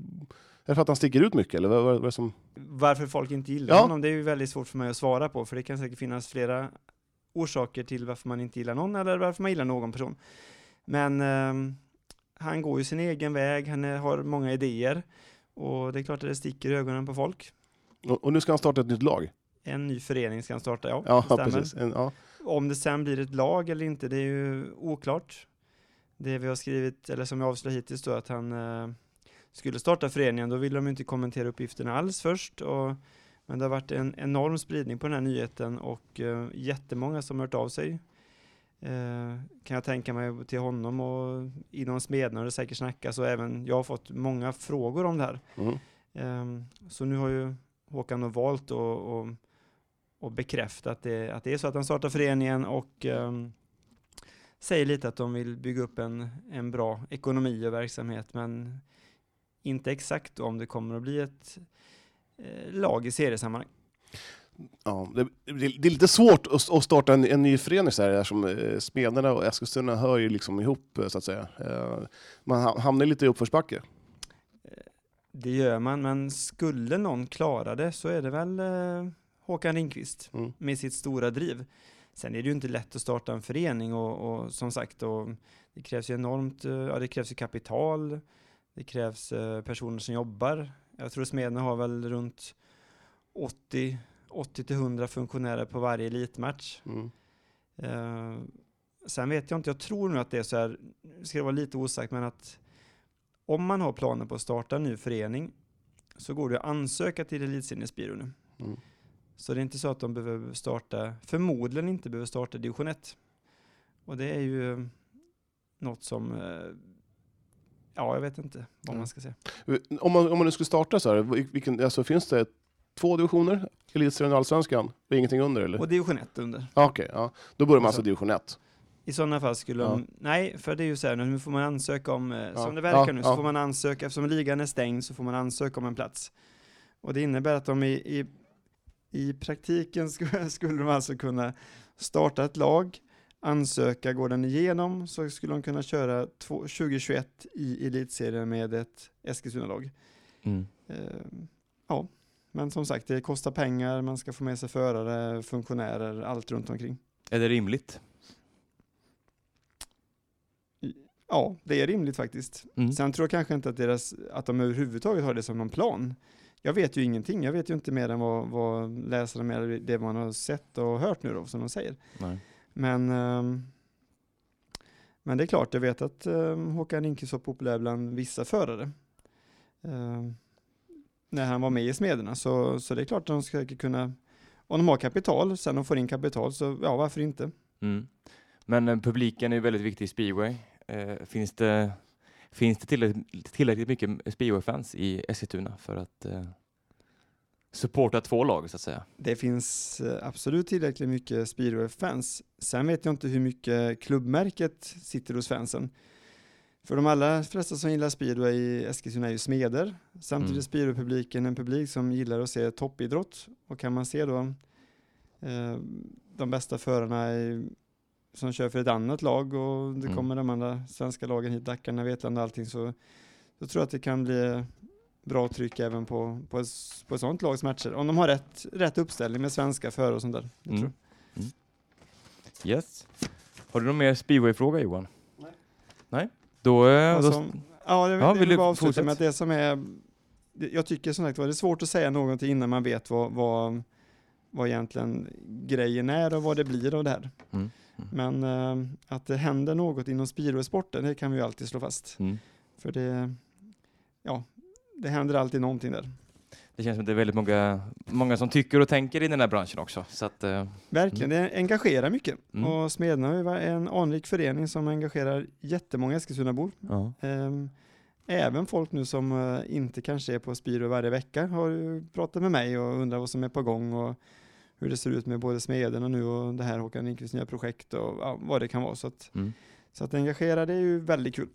Speaker 2: det för att han sticker ut mycket? Eller vad, vad, vad är det som...
Speaker 5: Varför folk inte gillar
Speaker 2: Ja.
Speaker 5: honom, det är ju väldigt svårt för mig att svara på, för det kan säkert finnas flera orsaker till varför man inte gillar någon eller varför man gillar någon person. Men ehm, han går ju sin egen väg, han är, har många idéer och det är klart att det sticker i ögonen på folk.
Speaker 2: Och, och nu ska han starta ett nytt lag.
Speaker 5: En ny förening ska han starta, ja.
Speaker 2: Ja,
Speaker 5: det stämmer.
Speaker 2: precis. En, ja.
Speaker 5: Om det sen blir ett lag eller inte, det är ju oklart. Det vi har skrivit, eller som jag avslöjade hittills då, att han eh, skulle starta föreningen, då ville de inte kommentera uppgifterna alls först. Och, men det har varit en enorm spridning på den här nyheten och eh, jättemånga som har hört av sig. Eh, kan jag tänka mig till honom och inom smedjan har det säkert snackats och även jag har fått många frågor om det här.
Speaker 2: Mm.
Speaker 5: Ehm, Så nu har ju Håkan då valt och, och, och bekräfta att det, att det är så att han startar föreningen och ehm, säger lite att de vill bygga upp en, en bra ekonomi och verksamhet men inte exakt om det kommer att bli ett eh, lag i seriesammanhang.
Speaker 2: Ja, det, det, det är lite svårt att, att starta en, en ny förening så här, eftersom eh, Smederna och Eskilstuna hör ju liksom ihop, eh, så att säga. Eh, Man ha- hamnar lite i uppförsbacke.
Speaker 5: Det gör man, men skulle någon klara det så är det väl eh, Håkan Lindqvist
Speaker 2: Mm.
Speaker 5: med sitt stora driv. Sen är det ju inte lätt att starta en förening och, och som sagt, och det krävs ju enormt, eh, ja det krävs ju kapital, det krävs eh, personer som jobbar. Jag tror Smederna har väl runt 80 80-100 funktionärer på varje elitmatch.
Speaker 2: Mm.
Speaker 5: Eh, sen vet jag inte, jag tror nu att det är så här, nu ska det vara lite osagt, men att om man har planer på att starta en ny förening så går det att ansöka till Elitseriespiron nu.
Speaker 2: Mm.
Speaker 5: Så det är inte så att de behöver starta, förmodligen inte behöver starta division 1. Och det är ju eh, något som, eh, ja jag vet inte vad
Speaker 2: Mm.
Speaker 5: man ska säga.
Speaker 2: Om man, om man nu skulle starta så här, vilken, alltså, finns det två divisioner? Elitserien och Allsvenskan? Och ingenting under eller?
Speaker 5: Och division 1 under.
Speaker 2: Ja, Okej, ja. då börjar man alltså
Speaker 5: Alltså-
Speaker 2: division 1.
Speaker 5: I sådana fall skulle
Speaker 2: Ja.
Speaker 5: de, nej, för det är ju så här, nu får man ansöka om, eh,
Speaker 2: Ja,
Speaker 5: som det verkar
Speaker 2: ja,
Speaker 5: nu, så
Speaker 2: ja.
Speaker 5: får man ansöka, eftersom ligan är stängd så får man ansöka om en plats. Och det innebär att de i, i, i praktiken skulle, skulle de alltså kunna starta ett lag, ansöka, går den igenom så skulle de kunna köra två- 2021 i elitserien med ett Eskilstuna-lag.
Speaker 1: Mm.
Speaker 5: Eh, ja, men som sagt, det kostar pengar, man ska få med sig förare, funktionärer, allt runt omkring.
Speaker 1: Är det rimligt?
Speaker 5: Ja, det är rimligt faktiskt.
Speaker 1: Mm.
Speaker 5: Sen tror jag kanske inte att, deras, att de överhuvudtaget har det som någon plan. Jag vet ju ingenting, jag vet ju inte mer än vad, vad läsarna med eller det man har sett och hört nu då, som de säger.
Speaker 1: Nej.
Speaker 5: Men, ehm, men det är klart, jag vet att um, Håkan Inkes var populär bland vissa förare. Ehm, när han var med i Smederna, så, så det är klart att de ska kunna, om de har kapital, sen de får in kapital, så ja, varför inte?
Speaker 1: Mm. Men eh, publiken är ju väldigt viktig i speedway. Eh, finns det, finns det tillräckligt, tillräckligt mycket eh, speedway-fans i Eskilstuna för att eh, supporta två lag så att säga?
Speaker 5: Det finns eh, absolut tillräckligt mycket speedway-fans. Sen vet jag inte hur mycket klubbmärket sitter hos fansen. För de allra flesta som gillar speedway i Eskilstuna är ju smeder. Samtidigt
Speaker 1: Mm.
Speaker 5: är speedwaypubliken en publik som gillar att se toppidrott. Och kan man se då eh, de bästa förarna i, som kör för ett annat lag och det
Speaker 1: Mm.
Speaker 5: kommer de andra svenska lagen hit, Dackarna, Vetlanda och allting så, så tror jag att det kan bli bra tryck även på, på, ett, s- på ett sånt lags matcher. Om de har rätt, rätt uppställning med svenska förare och sånt där. Det
Speaker 1: Mm.
Speaker 5: tror
Speaker 1: Yes. Har du någon mer speedway-fråga Johan? Nej. Nej? Då, eh,
Speaker 5: jag.
Speaker 1: då
Speaker 5: Alltså, ja, jag vill,
Speaker 1: Ja,
Speaker 5: jag
Speaker 1: vill
Speaker 5: vill
Speaker 1: du
Speaker 5: bara avsluta
Speaker 1: fortsätta?
Speaker 5: med att det som är, det- jag tycker som sagt var det är svårt att säga någonting innan man vet vad, vad, vad egentligen grejen är och vad det blir av det här.
Speaker 1: Mm. Mm.
Speaker 5: Men eh, att det händer något inom speedwaysporten, det kan vi ju alltid slå fast.
Speaker 1: mm.
Speaker 5: För det, ja, det händer alltid någonting där.
Speaker 1: Det känns som att det är väldigt många, många som tycker och tänker i den här branschen också. Så att, eh,
Speaker 5: Verkligen, det engagerar mycket.
Speaker 1: Mm.
Speaker 5: Och Smederna är ju en anrik förening som engagerar jättemånga Eskilstunabor.
Speaker 1: ja.
Speaker 5: Ehm, Även folk nu som eh, inte kanske är på Spiro varje vecka har ju pratat med mig och undrar vad som är på gång och hur det ser ut med både Smederna nu och det här Håkan Lindqvists nya projekt och ja, vad det kan vara. Så att,
Speaker 1: Mm.
Speaker 5: så att engagera, det är ju väldigt kul.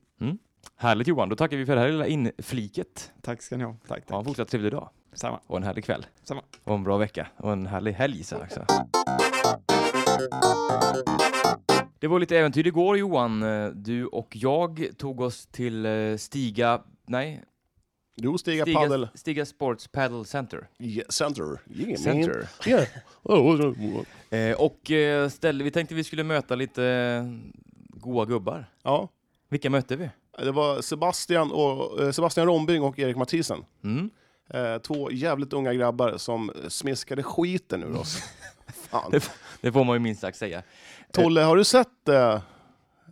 Speaker 1: Härligt Johan, då tackar vi för det här lilla infliket.
Speaker 5: Tack ska ni ha. Tack,
Speaker 1: Ha en
Speaker 5: tack.
Speaker 1: fortsatt trevlig dag
Speaker 5: Samma.
Speaker 1: och en härlig kväll.
Speaker 5: Samma.
Speaker 1: Och en bra vecka och en härlig helg sen också. Det var lite äventyr igår Johan. Eh, Du och jag tog oss till eh, Stiga, nej,
Speaker 2: Jo, Stiga,
Speaker 1: Stiga,
Speaker 2: Padel
Speaker 1: Stiga Sports Paddle Center.
Speaker 2: yeah, Center. Yeah, man.
Speaker 1: Center.
Speaker 2: Yeah. Oh, oh, oh.
Speaker 1: Eh, och eh, ställde, vi tänkte vi skulle möta lite eh, goa gubbar.
Speaker 2: Ja,
Speaker 1: Vilka mötte vi?
Speaker 2: det var Sebastian, och, eh, Sebastian Rombing och Erik Mathisen.
Speaker 1: Mm.
Speaker 2: Eh, två jävligt unga grabbar som smiskade skiten ur oss. Fan.
Speaker 1: Det får man ju minst sagt säga.
Speaker 2: Tolle, har du sett eh,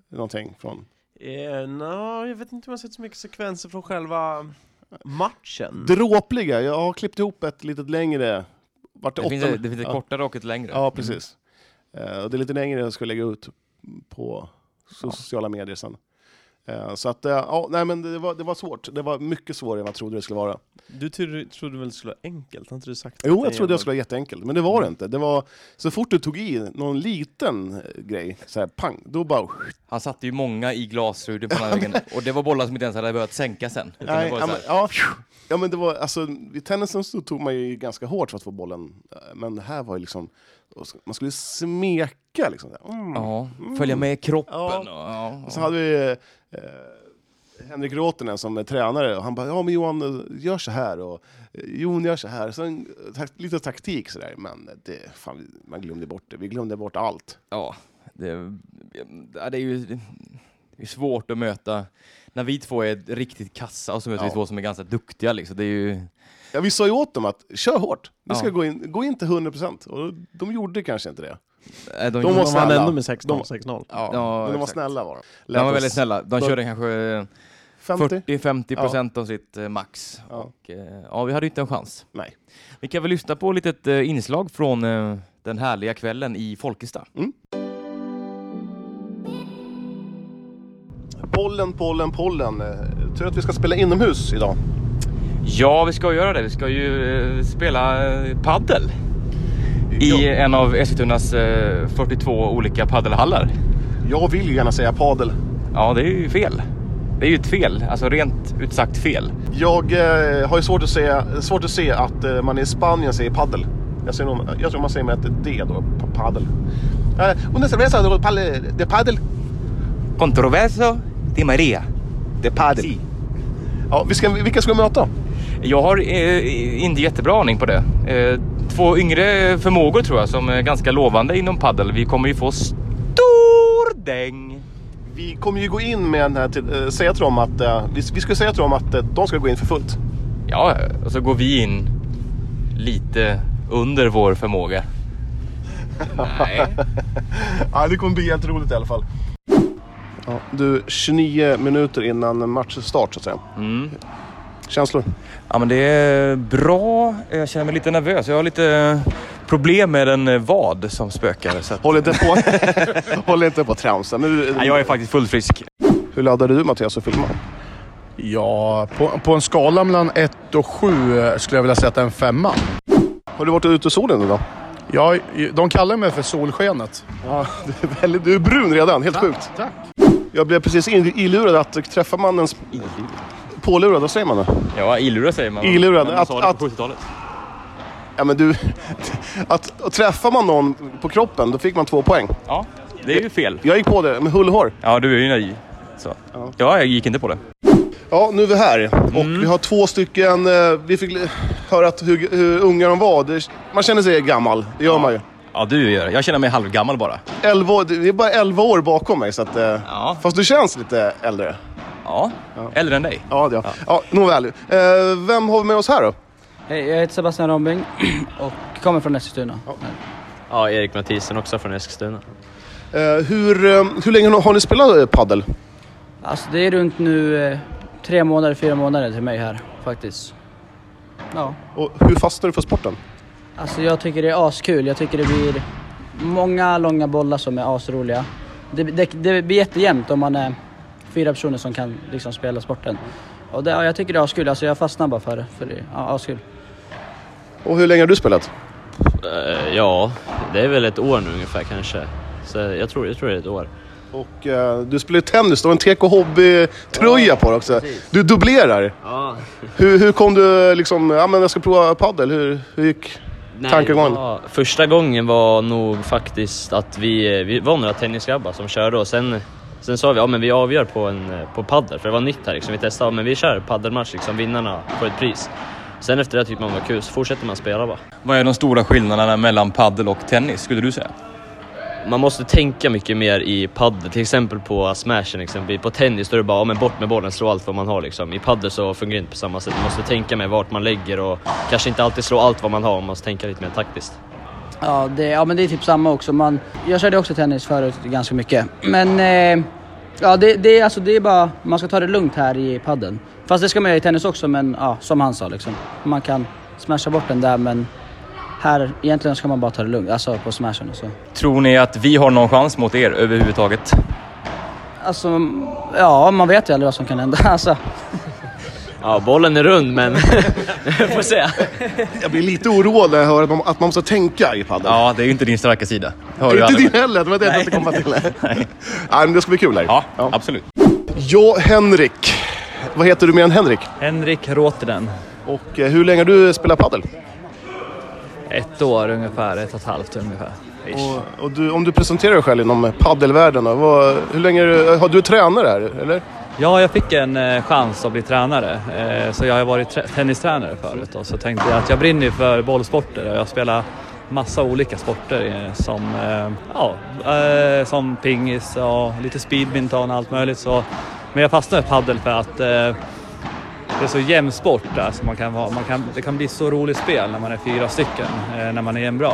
Speaker 2: någonting från...
Speaker 3: Eh, nå, jag vet inte om jag har sett så mycket sekvenser från själva matchen.
Speaker 2: Mm. Dråpliga, jag har klippt ihop ett lite längre... Vart
Speaker 1: Det
Speaker 2: åtta
Speaker 1: finns, det finns ett
Speaker 2: ja.
Speaker 1: kortare och ett längre. Mm.
Speaker 2: Ja, precis. Eh, och det är lite längre jag ska lägga ut på so- sociala medier sen. Eh, så att, eh, ja, nej men det var, det var svårt. Det var mycket svårare än vad jag trodde det skulle vara.
Speaker 3: Du trodde, trodde väl det skulle vara enkelt? Har inte du sagt
Speaker 2: Jo,
Speaker 3: att
Speaker 2: jag
Speaker 3: det
Speaker 2: trodde
Speaker 3: är-
Speaker 2: det skulle vara jätteenkelt, men det var det inte. Det var, så fort du tog i någon liten eh, grej, så här, pang, då bara...
Speaker 1: Han satte ju många i glasruden på den här vägen och det var bollar som inte ens hade börjat sänka sen. Utan det
Speaker 2: Nej,
Speaker 1: var
Speaker 2: ja,
Speaker 1: så
Speaker 2: men,
Speaker 1: här,
Speaker 2: ja, ja, men det var, alltså, I tennisen så tog man ju ganska hårt för att få bollen, eh, men det här var ju liksom... och så- Man skulle smeka liksom. så här, Mm.
Speaker 1: ja, följa med i kroppen.
Speaker 2: Ja.
Speaker 1: Och, ja,
Speaker 2: Och så hade vi eh, Henrik Råtinen som är tränare och han bara ja men Johan eh, gör så här och eh, Jon gör så här. Så en, eh, tak, lite taktik sådär men det, fan, vi- man glömde bort det. Vi glömde bort allt.
Speaker 1: ja, det, ja, det är ju det är svårt att möta. När vi två är riktigt kassa och så möter vi
Speaker 2: Ja.
Speaker 1: två som är ganska duktiga liksom. Det är ju,
Speaker 2: Ja, vi sa ju åt dem att kör hårt. Ni ska
Speaker 1: Ja.
Speaker 2: gå, in, gå in till 100% och de gjorde kanske inte det.
Speaker 1: de, de,
Speaker 2: var
Speaker 3: De vann
Speaker 2: snälla.
Speaker 3: ändå med 6-0.
Speaker 2: De-
Speaker 3: 6-0.
Speaker 2: Ja,
Speaker 1: Ja,
Speaker 2: men de var
Speaker 1: exakt.
Speaker 2: snälla var de. Lät
Speaker 1: de var
Speaker 2: oss
Speaker 1: väldigt snälla. De
Speaker 2: Då-
Speaker 1: körde kanske
Speaker 2: 50?
Speaker 1: 40-50
Speaker 2: Ja.
Speaker 1: procent av sitt eh, max.
Speaker 2: Ja.
Speaker 1: Och, eh, ja, vi hade ju inte en chans.
Speaker 2: Nej.
Speaker 1: Vi kan väl lyssna på ett litet eh, inslag från eh, den härliga kvällen i Folkestad.
Speaker 2: Mm. Pollen, pollen, pollen. Eh, Tur att vi ska spela inomhus idag.
Speaker 1: Ja, vi ska göra det. Vi ska ju eh, spela eh, paddel i
Speaker 2: Ja.
Speaker 1: en av Eskilstunas eh, 42 olika paddelhallar.
Speaker 2: Jag vill ju gärna säga padel.
Speaker 1: Ja, det är ju fel. Det är ju ett fel, alltså rent ut sagt fel.
Speaker 2: Jag eh, har ju svårt att se, svårt att se att eh, man i Spanien säger paddel. Jag, ser nog, jag tror man säger med ett D då, p- paddel. Eh, Una cerveza de pal- de padel.
Speaker 1: Controverso Di Maria.
Speaker 2: De padel.
Speaker 1: Si.
Speaker 2: Ja, vi ska, vilka ska vi möta?
Speaker 1: Jag har eh, inte jättebra aning på det. Eh, två yngre förmågor tror jag som är ganska lovande inom paddel. Vi kommer ju få stor däng.
Speaker 2: Vi kommer ju gå in med den här till, eh, säga till dem att eh, vi, vi ska säga till dem att eh, de ska gå in för fullt.
Speaker 1: Ja, och så går vi in lite under vår förmåga. Nej.
Speaker 2: Ja, det kommer bli helt roligt i alla fall. Ja, du, 29 minuter innan matchstart så att säga.
Speaker 1: Mm.
Speaker 2: Känslor?
Speaker 1: Ja, men det är bra. Jag känner mig lite nervös. Jag har lite problem med en vad som spökar. Så att...
Speaker 2: Håll inte på, Håll inte på och tramsa. Men, du-
Speaker 1: Nej, jag är faktiskt fullfrisk.
Speaker 2: Hur laddade du Mattias att filma?
Speaker 6: Ja, på, på en skala mellan 1 och 7 eh, skulle jag vilja sätta en femma.
Speaker 2: Har du varit ute i solen idag?
Speaker 6: Ja, i- de kallar mig för solskenet.
Speaker 2: Ja, du är, väldigt, du är brun redan. Helt sjukt.
Speaker 6: Tack.
Speaker 2: Jag blev precis in- ilurad att träffa mannen... som- Pålurad, vad säger man då?
Speaker 1: Ja, ilura säger man.
Speaker 2: Ilura,
Speaker 1: Men man sa
Speaker 2: att-
Speaker 1: det på 70-talet.
Speaker 2: Ja, men du... Att, att träffar man någon på kroppen, då fick man två poäng.
Speaker 1: Ja, det är ju fel.
Speaker 2: Jag gick på det med hull och hår.
Speaker 1: Ja, du är ju nöjd. Så. Ja. jag gick inte på det.
Speaker 2: Ja, nu är vi här. Och
Speaker 6: Mm.
Speaker 2: vi har två stycken... eh, Vi fick l- höra att hur, hur unga de var. Det, man känner sig gammal. Det gör man ju.
Speaker 1: Ja, du gör det. Jag känner mig halvgammal bara.
Speaker 2: Elva, år- det är bara 11 år bakom mig. Så att, eh,
Speaker 1: Ja.
Speaker 2: Fast du känns lite äldre.
Speaker 1: Ja, äldre än dig.
Speaker 2: Ja, det ja. ja. Nåväl. Eh, vem har vi med oss här då?
Speaker 7: Hej, jag heter Sebastian Rombing och kommer från Eskilstuna.
Speaker 8: Ja, Erik Mathisen också från Eskilstuna.
Speaker 2: Eh, hur, eh, hur länge har ni spelat eh, paddel?
Speaker 7: Alltså det är runt nu eh, tre månader, fyra månader till mig här faktiskt. Ja,
Speaker 2: Och hur fastnar du för sporten?
Speaker 7: alltså jag tycker det är askul. Jag tycker det blir många långa bollar som är asroliga. Det, det, det blir jättejämnt om man är fyra personer som kan liksom spela sporten. Och det, ja, jag tycker det är askul. Alltså jag fastnar bara för det. För det är ja, askul.
Speaker 2: Och hur länge har du spelat?
Speaker 8: Eh, ja, det är väl ett år nu ungefär kanske. Så jag tror, jag tror det är ett år.
Speaker 2: Och eh, du spelar ju tennis, du har en TK Hobby-tröja på dig också. Du dubblerar.
Speaker 8: Ja.
Speaker 2: Hur, hur kom du liksom, ja men jag ska prova paddel. Hur, hur gick tankegången?
Speaker 8: Ja, första gången var nog faktiskt att vi, vi var några tennisgrabbar som körde och sen, sen sa vi ja men vi avgör på, en, eh, på paddel för det var nytt här liksom. Vi testade, ja, men vi kör paddelmatch liksom, vinnarna får ett pris. Sen efter det tyckte man var kul så fortsätter man spela bara.
Speaker 1: Vad är de stora skillnaderna mellan paddel och tennis skulle du säga?
Speaker 8: Man måste tänka mycket mer i padel, till exempel på smashen exempelvis. På tennis då är det bara, ja men bort med bollen, slå allt vad man har liksom. I padel så fungerar det inte på samma sätt. Man måste tänka mer vart man lägger och kanske inte alltid slå allt vad man har, man måste tänka lite mer taktiskt.
Speaker 7: Ja, det, ja, men det är typ samma också. Man, jag körde också tennis förut ganska mycket. Men eh, ja, det, det, är alltså, det är bara, man ska ta det lugnt här i padden. Fast det ska man göra i tennis också, men ja, som han sa liksom. Man kan smasha bort den där, men här egentligen ska man bara ta det lugnt. Alltså på smashen och så.
Speaker 1: Tror ni att vi har någon chans mot er överhuvudtaget?
Speaker 7: Alltså, ja, man vet ju aldrig vad som kan hända. Alltså,
Speaker 8: Ja, bollen är rund men... får se.
Speaker 2: Jag blir lite oroad när jag hör att man, att man måste tänka i paddel.
Speaker 1: Ja, det är ju inte din starka sida. Hör
Speaker 2: Inte
Speaker 1: aldrig.
Speaker 2: din heller, det var det jag tänkte komma till. Nej. men det ska bli kul här.
Speaker 1: Ja, absolut.
Speaker 2: Ja, Henrik. Vad heter du mer än Henrik?
Speaker 9: Henrik Råtinen.
Speaker 2: Och eh, hur länge har du spelat paddel?
Speaker 9: Ett år ungefär, ett och ett halvt ungefär.
Speaker 2: Och, och du, om du presenterar dig själv inom paddelvärlden, då, vad, hur länge är du, har du tränare här? Eller?
Speaker 9: Ja, jag fick en eh, chans att bli tränare, eh, så jag har varit trä- tennistränare förut och så tänkte jag att jag brinner ju för bollsporter och jag spelar massa olika sporter eh, som, eh, ja, eh, som pingis och lite speedminton och allt möjligt. Så, men jag fastnade i padel för att eh, det är så jämn sport alltså man kan vara, man kan, det kan bli så roligt spel när man är fyra stycken, eh, när man är jämnbra.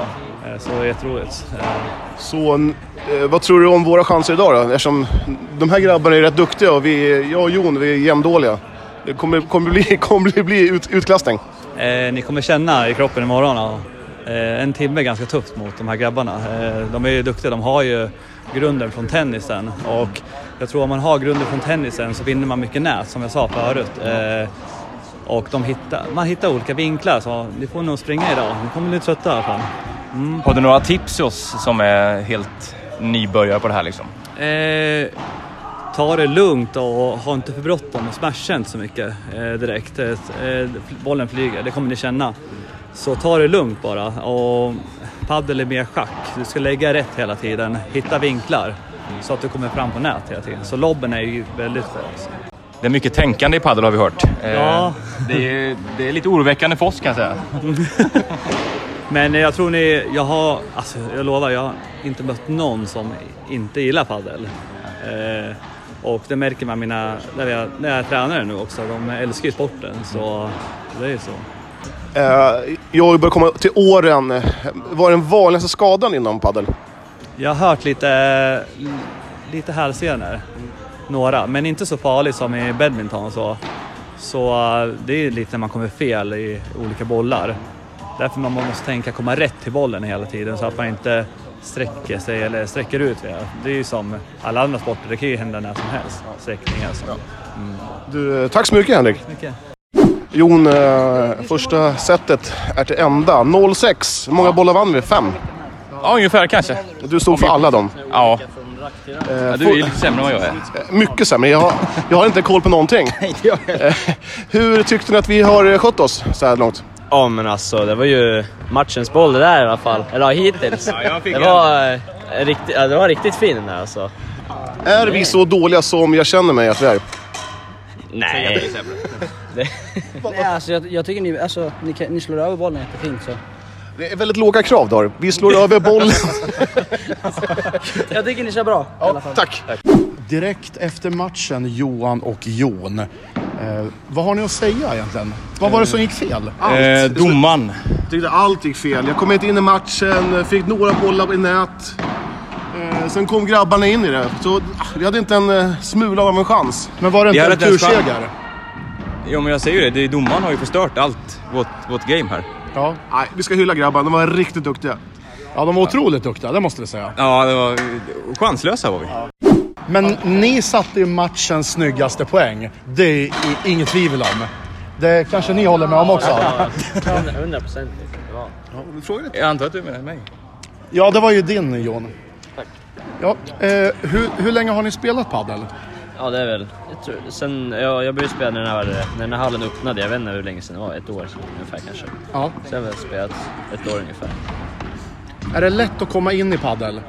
Speaker 9: Eh, så det är jätteroligt. Eh,
Speaker 2: Så, eh, vad tror du om våra chanser idag då? Eftersom de här grabbarna är rätt duktiga och vi, jag och Jon vi är jämndåliga. Det kommer, kommer bli, kommer bli ut, utklassning.
Speaker 9: Eh, ni kommer känna i kroppen imorgon. ja. Eh, en timme är ganska tufft mot de här grabbarna. Eh, de är ju duktiga, de har ju grunden från tennisen och jag tror om man har grunden från tennisen så vinner man mycket nät som jag sa förut. Eh, och de hittar, man hittar olika vinklar så ni får nog springa idag. Ni kommer bli trötta i alla fall.
Speaker 1: Mm. Har du några tips till oss som är helt nybörjare på det här liksom?
Speaker 9: Eh, ta det lugnt och ha inte för bråttom och smasha inte så mycket eh, direkt. Eh, bollen flyger, det kommer ni känna. Så ta det lugnt bara och Paddel är mer schack. Du ska lägga rätt hela tiden, hitta vinklar
Speaker 1: Mm.
Speaker 9: så att du kommer fram på nät hela tiden. Så lobben är ju väldigt skön.
Speaker 1: Det är mycket tänkande i padel har vi hört. Eh,
Speaker 9: Ja.
Speaker 1: Det är, det är lite oroväckande för oss kan jag säga.
Speaker 9: Men jag tror ni, jag har, alltså jag lovar, jag har inte mött någon som inte gillar padel. Eh, och det märker man mina, när jag, när jag tränar nu också, de älskar ju sporten så det är ju så.
Speaker 2: Eh, jag börjar komma till åren. Vad är den vanligaste skadan inom padel?
Speaker 9: Jag har hört lite, lite hälsenor, några, men inte så farligt som i badminton och så. Så eh, det är lite när man kommer fel i olika bollar. Därför man måste tänka komma rätt till bollen hela tiden så att man inte sträcker sig eller sträcker ut. Det är ju som alla andra sporter, det kan ju hända när som helst. Sträckningar som...
Speaker 2: Du, eh, tack så mycket Henrik.
Speaker 9: Mycket.
Speaker 2: Jon, eh, första setet är till ända. 0-6. Hur många bollar vann vi? Fem?
Speaker 1: Ja, ungefär kanske.
Speaker 2: Du stod för alla dem.
Speaker 1: Ja.
Speaker 2: Eh,
Speaker 1: ja, du är
Speaker 2: får-
Speaker 1: ju lite sämre än vad jag är.
Speaker 2: eh, mycket sämre. Jag har, jag har inte koll på någonting. Eh, Hur tyckte ni att vi har eh, skött oss så här långt?
Speaker 8: Ja men alltså det var ju matchens boll det där i alla fall. Eller ja, hittills. det, var, eh, riktigt, ja, det var riktigt fin den där alltså.
Speaker 2: Är vi så dåliga som jag känner mig att vi är?
Speaker 8: Nej.
Speaker 7: Nej, alltså, jag, jag tycker ni, alltså, ni, kan- ni slår över bollen jättefint. Så.
Speaker 2: Det är väldigt låga krav Dar. Vi slår över bollen.
Speaker 7: Jag tycker ni kör bra i alla fall.
Speaker 2: Tack!
Speaker 6: Direkt efter matchen, Johan och Jon. Eh, vad har ni att säga egentligen? Vad var det som gick fel?
Speaker 1: Eh, domaren.
Speaker 2: tyckte allt gick fel. Jag kom inte in i matchen, fick några bollar i nät. Eh, sen kom grabbarna in i det. Så ah, vi hade inte en eh, smula av en chans.
Speaker 6: Men var det
Speaker 1: Vi
Speaker 6: inte
Speaker 1: hade
Speaker 6: en
Speaker 1: inte ens
Speaker 6: turseger?
Speaker 1: Jo, men jag säger ju det. det. är- Domaren har ju förstört allt vårt, vårt game här.
Speaker 6: Ja.
Speaker 2: Nej, vi ska hylla grabbarna. De var riktigt duktiga.
Speaker 6: ja, de var otroligt duktiga, det måste vi säga.
Speaker 1: Ja, det var chanslösa var vi.
Speaker 6: Men ni satte ju matchens snyggaste poäng. Det är i- inget tvivel om. Det kanske ni håller med om också?
Speaker 8: Hundra procent.
Speaker 1: Jag antar att du menar mig.
Speaker 6: Ja, det var ju din Jon. Tack. Ja, eh, hur, hur länge har ni spelat padel?
Speaker 8: Ja det är väl. Jag, tror, sen, ja, jag började spela när den, här, när den här hallen öppnade. Jag vet inte hur länge sedan det var. Ett år sedan ungefär kanske.
Speaker 6: Ja.
Speaker 8: Så jag har väl spelat ett år ungefär.
Speaker 6: Är det lätt att komma in i padel?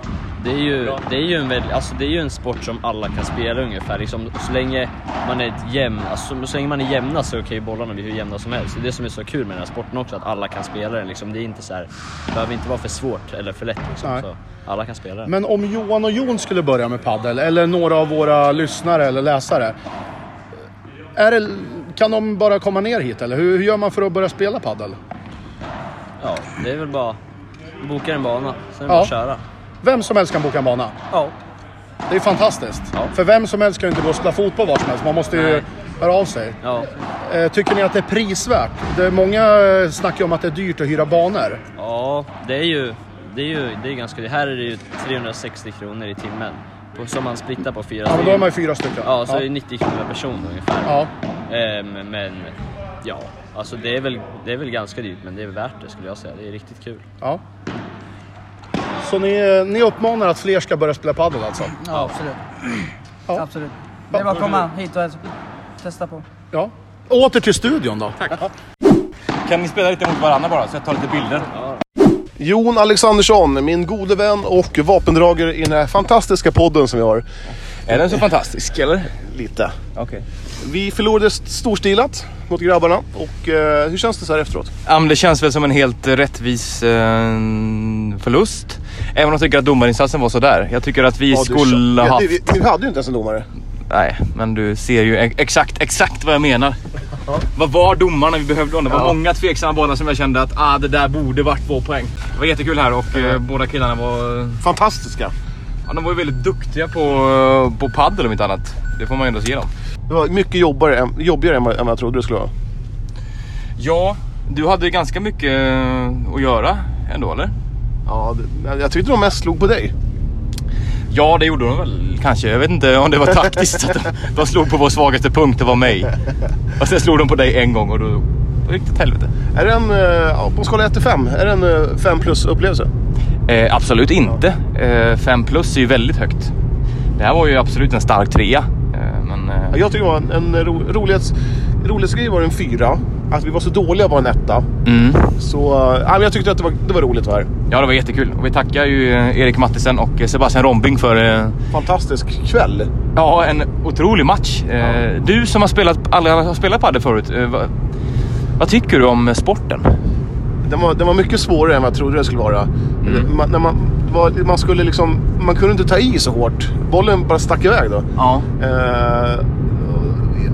Speaker 8: Det är, ju, det, är ju en väldigt, alltså det är ju en sport som alla kan spela ungefär. Liksom, så, länge man är ett jämn, alltså, så länge man är jämna så kan ju bollarna bli hur jämna som helst. Det är det som är så kul med den här sporten också, att alla kan spela den. Liksom, det är inte så här, det behöver inte vara för svårt eller för lätt. Liksom,
Speaker 6: Nej.
Speaker 8: så alla kan spela den.
Speaker 6: Men om Johan och Jon skulle börja med padel, eller några av våra lyssnare eller läsare. eh, Är det, kan de bara komma ner hit eller? Hur, hur gör man för att börja spela padel?
Speaker 8: Ja, det är väl bara boka en bana, sen är det
Speaker 6: Ja.
Speaker 8: bara att köra.
Speaker 6: Vem som helst kan boka en bana.
Speaker 8: Ja.
Speaker 6: Det är fantastiskt.
Speaker 8: Ja.
Speaker 6: För vem som helst kan ju inte gå och spela fotboll var som helst. Man måste ju
Speaker 8: Nej.
Speaker 6: höra av sig.
Speaker 8: Ja,
Speaker 6: Eh, tycker ni att det är prisvärt? Det är många eh, snackar ju om att det är dyrt att hyra banor.
Speaker 8: ja det är ju, det är ju det är ganska Här är det ju 360 kronor i timmen, på, som man splittar på fyra.
Speaker 6: Ja, men
Speaker 8: Det är
Speaker 6: då är
Speaker 8: ju-
Speaker 6: man ju fyra stycken.
Speaker 8: Ja, så är det 90 kronor per person ungefär.
Speaker 6: Ja.
Speaker 8: Ehm, men ja, alltså det är, väl, det är väl ganska dyrt men det är väl värt det skulle jag säga. Det är riktigt kul.
Speaker 6: Ja. Så ni, eh, ni uppmanar att fler ska börja spela padel alltså?
Speaker 7: Ja, absolut.
Speaker 6: Ja.
Speaker 7: absolut. Det är bara att komma hit och testa på.
Speaker 6: Ja. Åter till studion då. Tack.
Speaker 1: Kan ni spela lite mot varandra bara så jag tar lite bilder?
Speaker 2: Jon Alexandersson, min gode vän och vapendragare i den här fantastiska podden som vi har.
Speaker 1: Är den så fantastisk eller?
Speaker 2: Lite.
Speaker 1: Okej.
Speaker 2: Vi förlorade st- storstilat mot grabbarna. Och eh, hur känns det så här efteråt?
Speaker 1: Ja, men det känns väl som en helt eh, rättvis eh, förlust. Även om jag tycker att domarinsatsen var sådär. Jag tycker att vi
Speaker 2: Ja, du
Speaker 1: skulle
Speaker 2: kör.
Speaker 1: ha
Speaker 2: Vi-
Speaker 1: haft...
Speaker 2: vi, vi hade ju inte ens en domare.
Speaker 1: Nej, men du ser ju e- exakt, exakt vad jag menar. Vad var domarna vi behövde? Det var många tveksamma bollar som jag kände att ah, det där borde varit vår poäng. Det var jättekul här och eh, båda killarna var...
Speaker 2: Fantastiska.
Speaker 1: Ja, de var ju väldigt duktiga på, eh, på paddel om inte annat. Det får man ju ändå se dem.
Speaker 2: Det var mycket jobbigare än, jobbigare än vad än vad jag trodde det skulle vara.
Speaker 1: Ja, du hade ju ganska mycket eh, att göra ändå eller?
Speaker 2: Ja, det, jag tyckte de mest slog på dig.
Speaker 1: Ja, det gjorde de väl kanske. Jag vet inte om det var taktiskt. att de, de slog på vår svagaste punkt, det var mig. Och sen slog de på dig en gång och då, då gick det åt helvete.
Speaker 2: Är det en, eh, ja, på en skala 1 till 5, är det en 5 plus upplevelse?
Speaker 1: Eh, absolut inte. 5 plus är ju väldigt högt. Det här var ju absolut en stark trea. Eh, men, eh,
Speaker 2: Ja, Jag tycker det var en, en ro, rolighets, rolig grej var en fyra. Att vi var så dåliga var en etta. Så eh, ja, men jag tyckte att det var, det var roligt var det.
Speaker 1: Ja, det var jättekul. Och vi tackar ju eh, Erik Mattisen och eh, Sebastian Rombing för eh,
Speaker 2: Fantastisk kväll.
Speaker 1: ja, en otrolig match. Eh, Du som har spelat, alla har spelat padel förut, eh, vad, vad tycker du om eh, sporten?
Speaker 2: Den var, den var mycket svårare än vad jag trodde den skulle vara. Man, när man, var, man, skulle liksom, man kunde inte ta i så hårt. Bollen bara stack iväg då.
Speaker 1: Ja.
Speaker 2: Eh,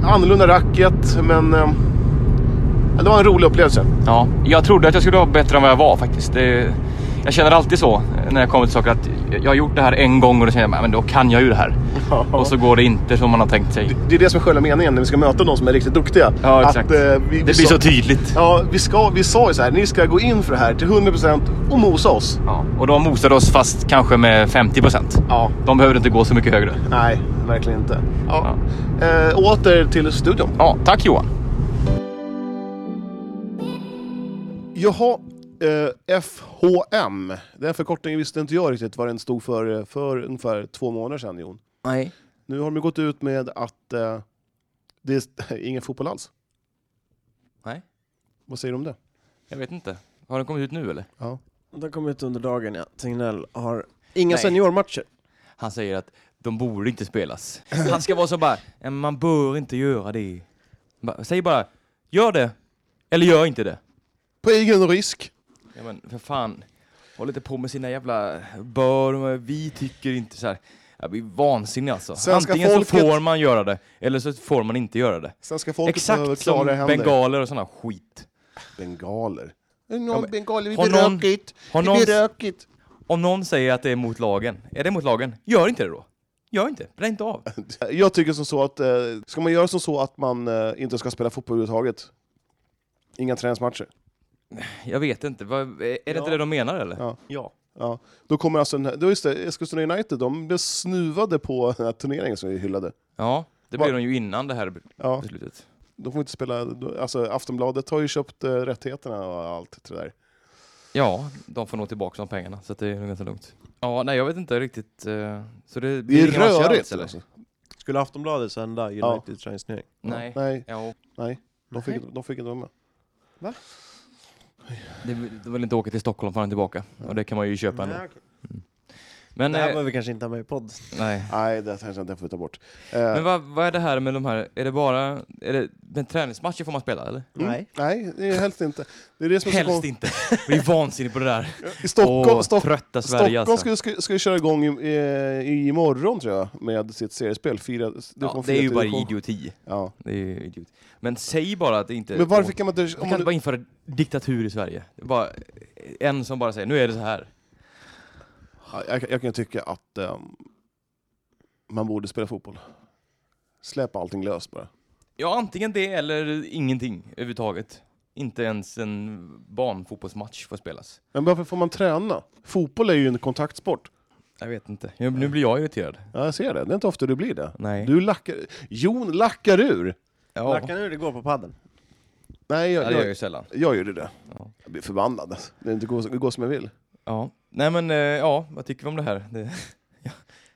Speaker 2: annorlunda racket, men eh, ja, det var en rolig upplevelse.
Speaker 1: Ja, jag trodde att jag skulle vara bättre än vad jag var faktiskt. Det, jag känner alltid så eh, när jag kommer till saker att jag har gjort det här en gång och då känner jag men då kan jag ju det här. Och så går det inte som man har tänkt sig.
Speaker 2: Det är det som är själva meningen när vi ska möta någon som är riktigt duktiga.
Speaker 1: Ja, exakt.
Speaker 2: eh, vi- vi
Speaker 1: det blir
Speaker 2: sa-
Speaker 1: så tydligt.
Speaker 2: Ja, vi, ska, vi sa ju så här, ni ska gå in för det här till 100% och mosa oss.
Speaker 1: Ja. Och de mosade oss fast kanske med 50 procent.
Speaker 2: Ja.
Speaker 1: De behövde inte gå så mycket högre.
Speaker 2: Nej, verkligen inte. Ja. Eh, åter till studion.
Speaker 1: Ja, tack Johan.
Speaker 2: Jaha, eh, FHM. Den förkortningen visste inte jag riktigt vad den stod för eh, för ungefär två månader sedan, Jon.
Speaker 1: Nej.
Speaker 2: Nu har de ju gått ut med att eh, det är st- ingen fotboll alls.
Speaker 1: Nej.
Speaker 2: Vad säger du om det?
Speaker 1: Jag vet inte. Har den kommit ut nu eller?
Speaker 3: Den kom ut under dagen ja. Tegnell har inga
Speaker 1: Nej.
Speaker 3: seniormatcher.
Speaker 1: Han säger att de borde inte spelas. Han ska vara så bara, "Eh, man bör inte göra det. Bara- Säg bara, gör det. Eller gör inte det.
Speaker 2: På egen risk.
Speaker 1: Ja men för fan, håll inte på med sina jävla bör, men vi tycker inte så här. Jag blir vansinnig alltså.
Speaker 2: Svenska
Speaker 1: Antingen så
Speaker 2: folket-
Speaker 1: får man göra det, eller så får man inte göra det.
Speaker 2: Svenska folket behöver
Speaker 1: Exakt som
Speaker 2: klara händer.
Speaker 1: bengaler och sådana skit.
Speaker 2: Bengaler. Någon
Speaker 1: Ja, men-
Speaker 2: bengaler, vi
Speaker 1: har
Speaker 2: blir
Speaker 1: någon-
Speaker 2: rökigt.
Speaker 1: har
Speaker 2: det
Speaker 1: någon-
Speaker 2: blir rökigt.
Speaker 1: Om någon säger att det är mot lagen, är det mot lagen? Gör inte det då. Gör inte, bränn inte av.
Speaker 2: Jag tycker som så att, eh, ska man göra som så att man eh, inte ska spela fotboll överhuvudtaget? Inga träningsmatcher.
Speaker 1: Jag vet inte, Vad- är det inte det de menar eller?
Speaker 2: Ja. Ja. Då kommer alltså den här, då just det, Eskilstuna United, de blev snuvade på den här turneringen som vi hyllade.
Speaker 1: Ja, det
Speaker 2: Vad-
Speaker 1: blir de ju innan det här
Speaker 2: Ja.
Speaker 1: beslutet.
Speaker 2: De får inte spela, då- alltså Aftonbladet har ju köpt eh, rättigheterna och allt till det där.
Speaker 1: Ja, de får nog tillbaka de pengarna, så att det är nog ganska lugnt. Ja, nej jag vet inte riktigt. eh, Så det,
Speaker 2: Det är
Speaker 1: ingen match alls,
Speaker 2: rörigt.
Speaker 1: eller?
Speaker 2: Alltså.
Speaker 3: Skulle Aftonbladet sända United träningsturnering?
Speaker 1: Nej.
Speaker 2: Nej,
Speaker 1: Ja,
Speaker 2: de fick, de fick inte vara med.
Speaker 1: Det det vill inte åka till Stockholm för han är tillbaka. Och det kan man ju köpa ändå.
Speaker 3: Nej, okej.
Speaker 1: Men,
Speaker 3: Det här
Speaker 1: eh,
Speaker 3: behöver vi kanske inte ha med i podd.
Speaker 1: nej.
Speaker 2: Nej, det tänkte jag inte, jag får ta bort. Eh,
Speaker 1: Men vad, vad är det här med de här, är det bara, är det, men träningsmatcher får man spela eller?
Speaker 2: mm,
Speaker 3: Nej.
Speaker 2: Nej, det är helst inte. Det är det som är så
Speaker 1: Helst
Speaker 2: konstigt.
Speaker 1: inte. Vi är vansinniga på det där.
Speaker 2: I Stockholm,
Speaker 1: Åh,
Speaker 2: Stock,
Speaker 1: trötta Sverige
Speaker 2: Stockholm
Speaker 1: alltså.
Speaker 2: ska, ska, ska ju köra igång i, i, imorgon tror jag, med sitt seriespel. Fyra,
Speaker 1: Ja,
Speaker 2: kom
Speaker 1: det är ju
Speaker 2: fyra
Speaker 1: bara
Speaker 2: till-
Speaker 1: idioti.
Speaker 2: Ja.
Speaker 1: Det är ju idiot. Men säg bara att det inte...
Speaker 2: Men varför kan man inte...
Speaker 1: man
Speaker 2: Om
Speaker 1: kan
Speaker 2: man,
Speaker 1: inte bara införa diktatur i Sverige. Det är Bara en som bara säger nu är det så här.
Speaker 2: Ja, jag, jag kan tycka att ehm, man borde spela fotboll. Släpp allting löst bara.
Speaker 1: Ja, antingen det eller ingenting överhuvudtaget. Inte ens en barnfotbollsmatch får spelas.
Speaker 2: Men varför får man träna? Fotboll är ju en kontaktsport.
Speaker 1: Jag vet inte. Nu nu blir jag irriterad.
Speaker 2: Ja, jag ser det. Det är inte ofta du blir det.
Speaker 1: Nej.
Speaker 2: Du lackar... Jon lackar ur!
Speaker 1: Ja.
Speaker 3: Lacka nu det går på padden.
Speaker 2: Nej,
Speaker 1: Ja,
Speaker 2: jag,
Speaker 1: det gör jag
Speaker 2: jag,
Speaker 1: ju sällan.
Speaker 2: jag gjorde det.
Speaker 1: Ja.
Speaker 2: Jag blir förbannad. alltså. Det är inte går, det går som jag vill.
Speaker 1: Ja. Nej men, eh, ja, vad tycker vi om det här? Det...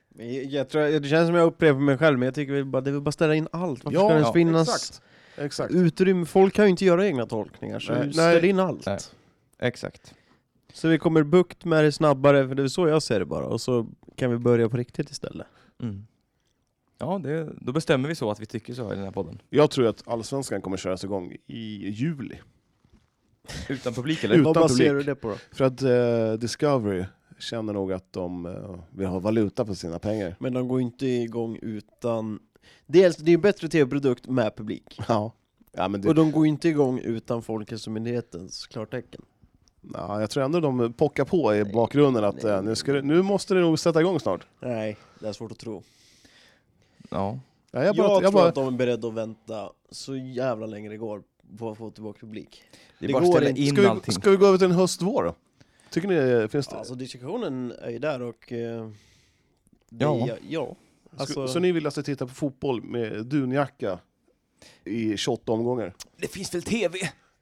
Speaker 3: Men Jag, jag tror, det känns som jag upprepar mig själv, men jag tycker vi bara, det vill bara ställa in allt. Varför
Speaker 2: Ja,
Speaker 3: ska det
Speaker 1: ja,
Speaker 3: ens finnas
Speaker 2: Exakt. Exakt.
Speaker 3: utrymme? Folk kan ju inte göra egna tolkningar, så
Speaker 2: Nej.
Speaker 3: ställ
Speaker 2: Nej.
Speaker 3: in allt.
Speaker 1: Nej. Exakt.
Speaker 3: Så vi kommer bukt med det snabbare, för det är så jag ser det bara, och så kan vi börja på riktigt istället.
Speaker 1: Mm. Ja, det, då bestämmer vi så att vi tycker så i den här podden.
Speaker 2: Jag tror att Allsvenskan kommer köras igång i juli.
Speaker 1: Utan publik eller?
Speaker 2: Ut-
Speaker 3: Vad
Speaker 2: Utan
Speaker 3: baserar du
Speaker 2: publik.
Speaker 3: det på då?
Speaker 2: För att eh, Discovery känner nog att de eh, vill ha valuta för sina pengar.
Speaker 3: Men de går ju inte igång utan... Dels, det är ju en bättre tv-produkt med publik.
Speaker 2: Ja. Ja, men det,
Speaker 3: Och de går ju inte igång utan Folkhälsomyndighetens klartecken.
Speaker 2: ja, jag tror ändå de pockar på i bakgrunden att eh, nu, ska det, nu måste det nog sätta igång snart.
Speaker 3: Nej, det är svårt att tro.
Speaker 1: Ja.
Speaker 2: Ja, jag
Speaker 3: Jag,
Speaker 2: bara, jag
Speaker 3: tror
Speaker 2: bara,
Speaker 3: att de är beredda att vänta så jävla länge det går på att få tillbaka publik.
Speaker 1: Det är
Speaker 3: Det
Speaker 1: bara
Speaker 3: går
Speaker 1: att ställa
Speaker 3: inte.
Speaker 1: in
Speaker 2: ska, vi,
Speaker 1: allting.
Speaker 2: ska vi gå över till en höst-vår då? Tycker ni eh, finns det?
Speaker 3: Alltså diskussionen är ju där och... Eh, det,
Speaker 1: Ja.
Speaker 3: ja. ja. Alltså,
Speaker 2: Sku- Så ni vill alltså titta på fotboll med dunjacka i 28 omgångar?
Speaker 1: Det finns väl TV?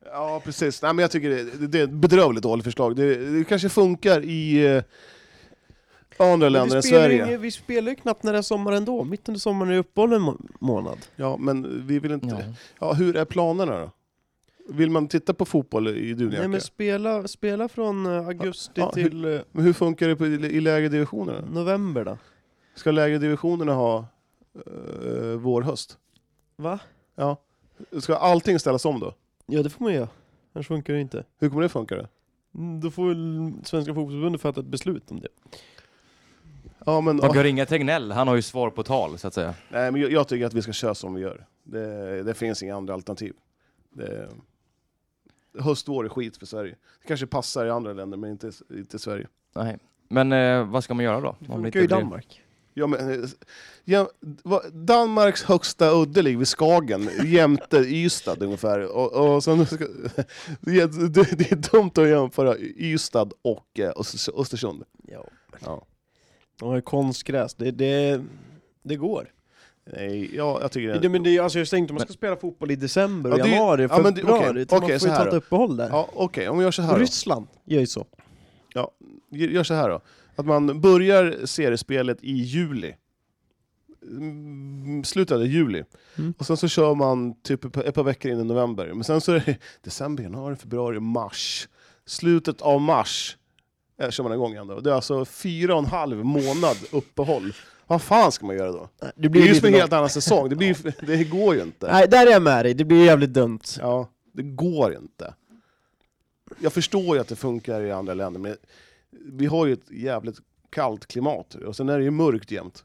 Speaker 2: Ja, precis. Nej, men jag tycker det, det, det är ett bedrövligt dåligt förslag. Det, det kanske funkar i eh, Andra
Speaker 3: Men
Speaker 2: länder
Speaker 3: vi
Speaker 2: än
Speaker 3: spelar ju
Speaker 2: Sverige.
Speaker 3: ingen- Vi spelar ju knappt när det är sommar ändå. Mitten av sommaren är uppehåll en må- månad.
Speaker 2: Ja, men vi vill inte... Ja. hur är planerna då? Vill man titta på fotboll i
Speaker 3: Nej
Speaker 2: dunjacka?
Speaker 3: men spela, spela från eh, augusti
Speaker 2: Ja, hur-
Speaker 3: till eh,
Speaker 2: Men hur funkar det på, i, i lägre divisionerna?
Speaker 3: november då.
Speaker 2: Ska lägre divisionerna ha uh, vår-höst?
Speaker 3: Va?
Speaker 2: Ja. Ska allting ställas om då?
Speaker 3: Ja det får man göra. Annars funkar det inte.
Speaker 2: Hur kommer det funka då?
Speaker 3: Mm, Då får väl Svenska Fotbollförbundet fatta ett beslut om det.
Speaker 2: Ja, men,
Speaker 1: De kan ringa Tegnell, han har ju svar på tal så att säga.
Speaker 2: nej, men jag, jag tycker att vi ska köra som vi gör. Det, det finns inga andra alternativ. Det, höst vår är skit för Sverige. Det kanske passar i andra länder, men inte, inte i Sverige.
Speaker 1: Nej. Men eh, vad ska man göra då?
Speaker 3: Det
Speaker 1: Om det
Speaker 3: funkar ju i
Speaker 1: inte blir-
Speaker 3: Danmark.
Speaker 2: Ja, men, eh, ja, va- Danmarks högsta udde ligger vid Skagen jämte Ystad ungefär. Och, och sen, ska- det, det- det är dumt att jämföra Ystad och eh, Östers- Östersund.
Speaker 3: Ja.
Speaker 2: Ja.
Speaker 3: De har ju konstgräs. Det, det, det går.
Speaker 2: Nej, ja, jag tycker
Speaker 3: Det,
Speaker 2: det.
Speaker 3: men det, är- alltså jag tänkte, man ska
Speaker 1: Men-
Speaker 3: spela fotboll i december,
Speaker 2: Ja,
Speaker 3: och
Speaker 2: det är ju-
Speaker 3: januari,
Speaker 2: ja, men det-
Speaker 3: februari.
Speaker 2: okej,
Speaker 3: så man
Speaker 2: okej,
Speaker 3: får
Speaker 2: så
Speaker 3: ju
Speaker 2: här
Speaker 3: ta ett
Speaker 2: då.
Speaker 3: uppehåll där.
Speaker 2: Ja, Okej, om jag gör så här då.
Speaker 3: Ryssland gör ju så.
Speaker 2: Ja, gör så här då. Att man börjar seriespelet i juli. Mm, Slutet av juli.
Speaker 3: Mm.
Speaker 2: Och sen så kör man typ ett par- ett par veckor in i november. Men sen så är det december, januari, februari, mars. Slutet av mars eh, kör man igång igen då. Det är alltså fyra och en halv månad uppehåll. Vad fan ska man göra då?
Speaker 3: Det
Speaker 2: Det är ju som en
Speaker 3: lite
Speaker 2: helt annan säsong. Det, blir, ju- det går ju inte.
Speaker 3: Nej, där är jag med dig. Det blir jävligt dumt.
Speaker 2: Ja, det går inte. Jag förstår ju att det funkar i andra länder, men vi har ju ett jävligt kallt klimat och sen är det ju mörkt jämt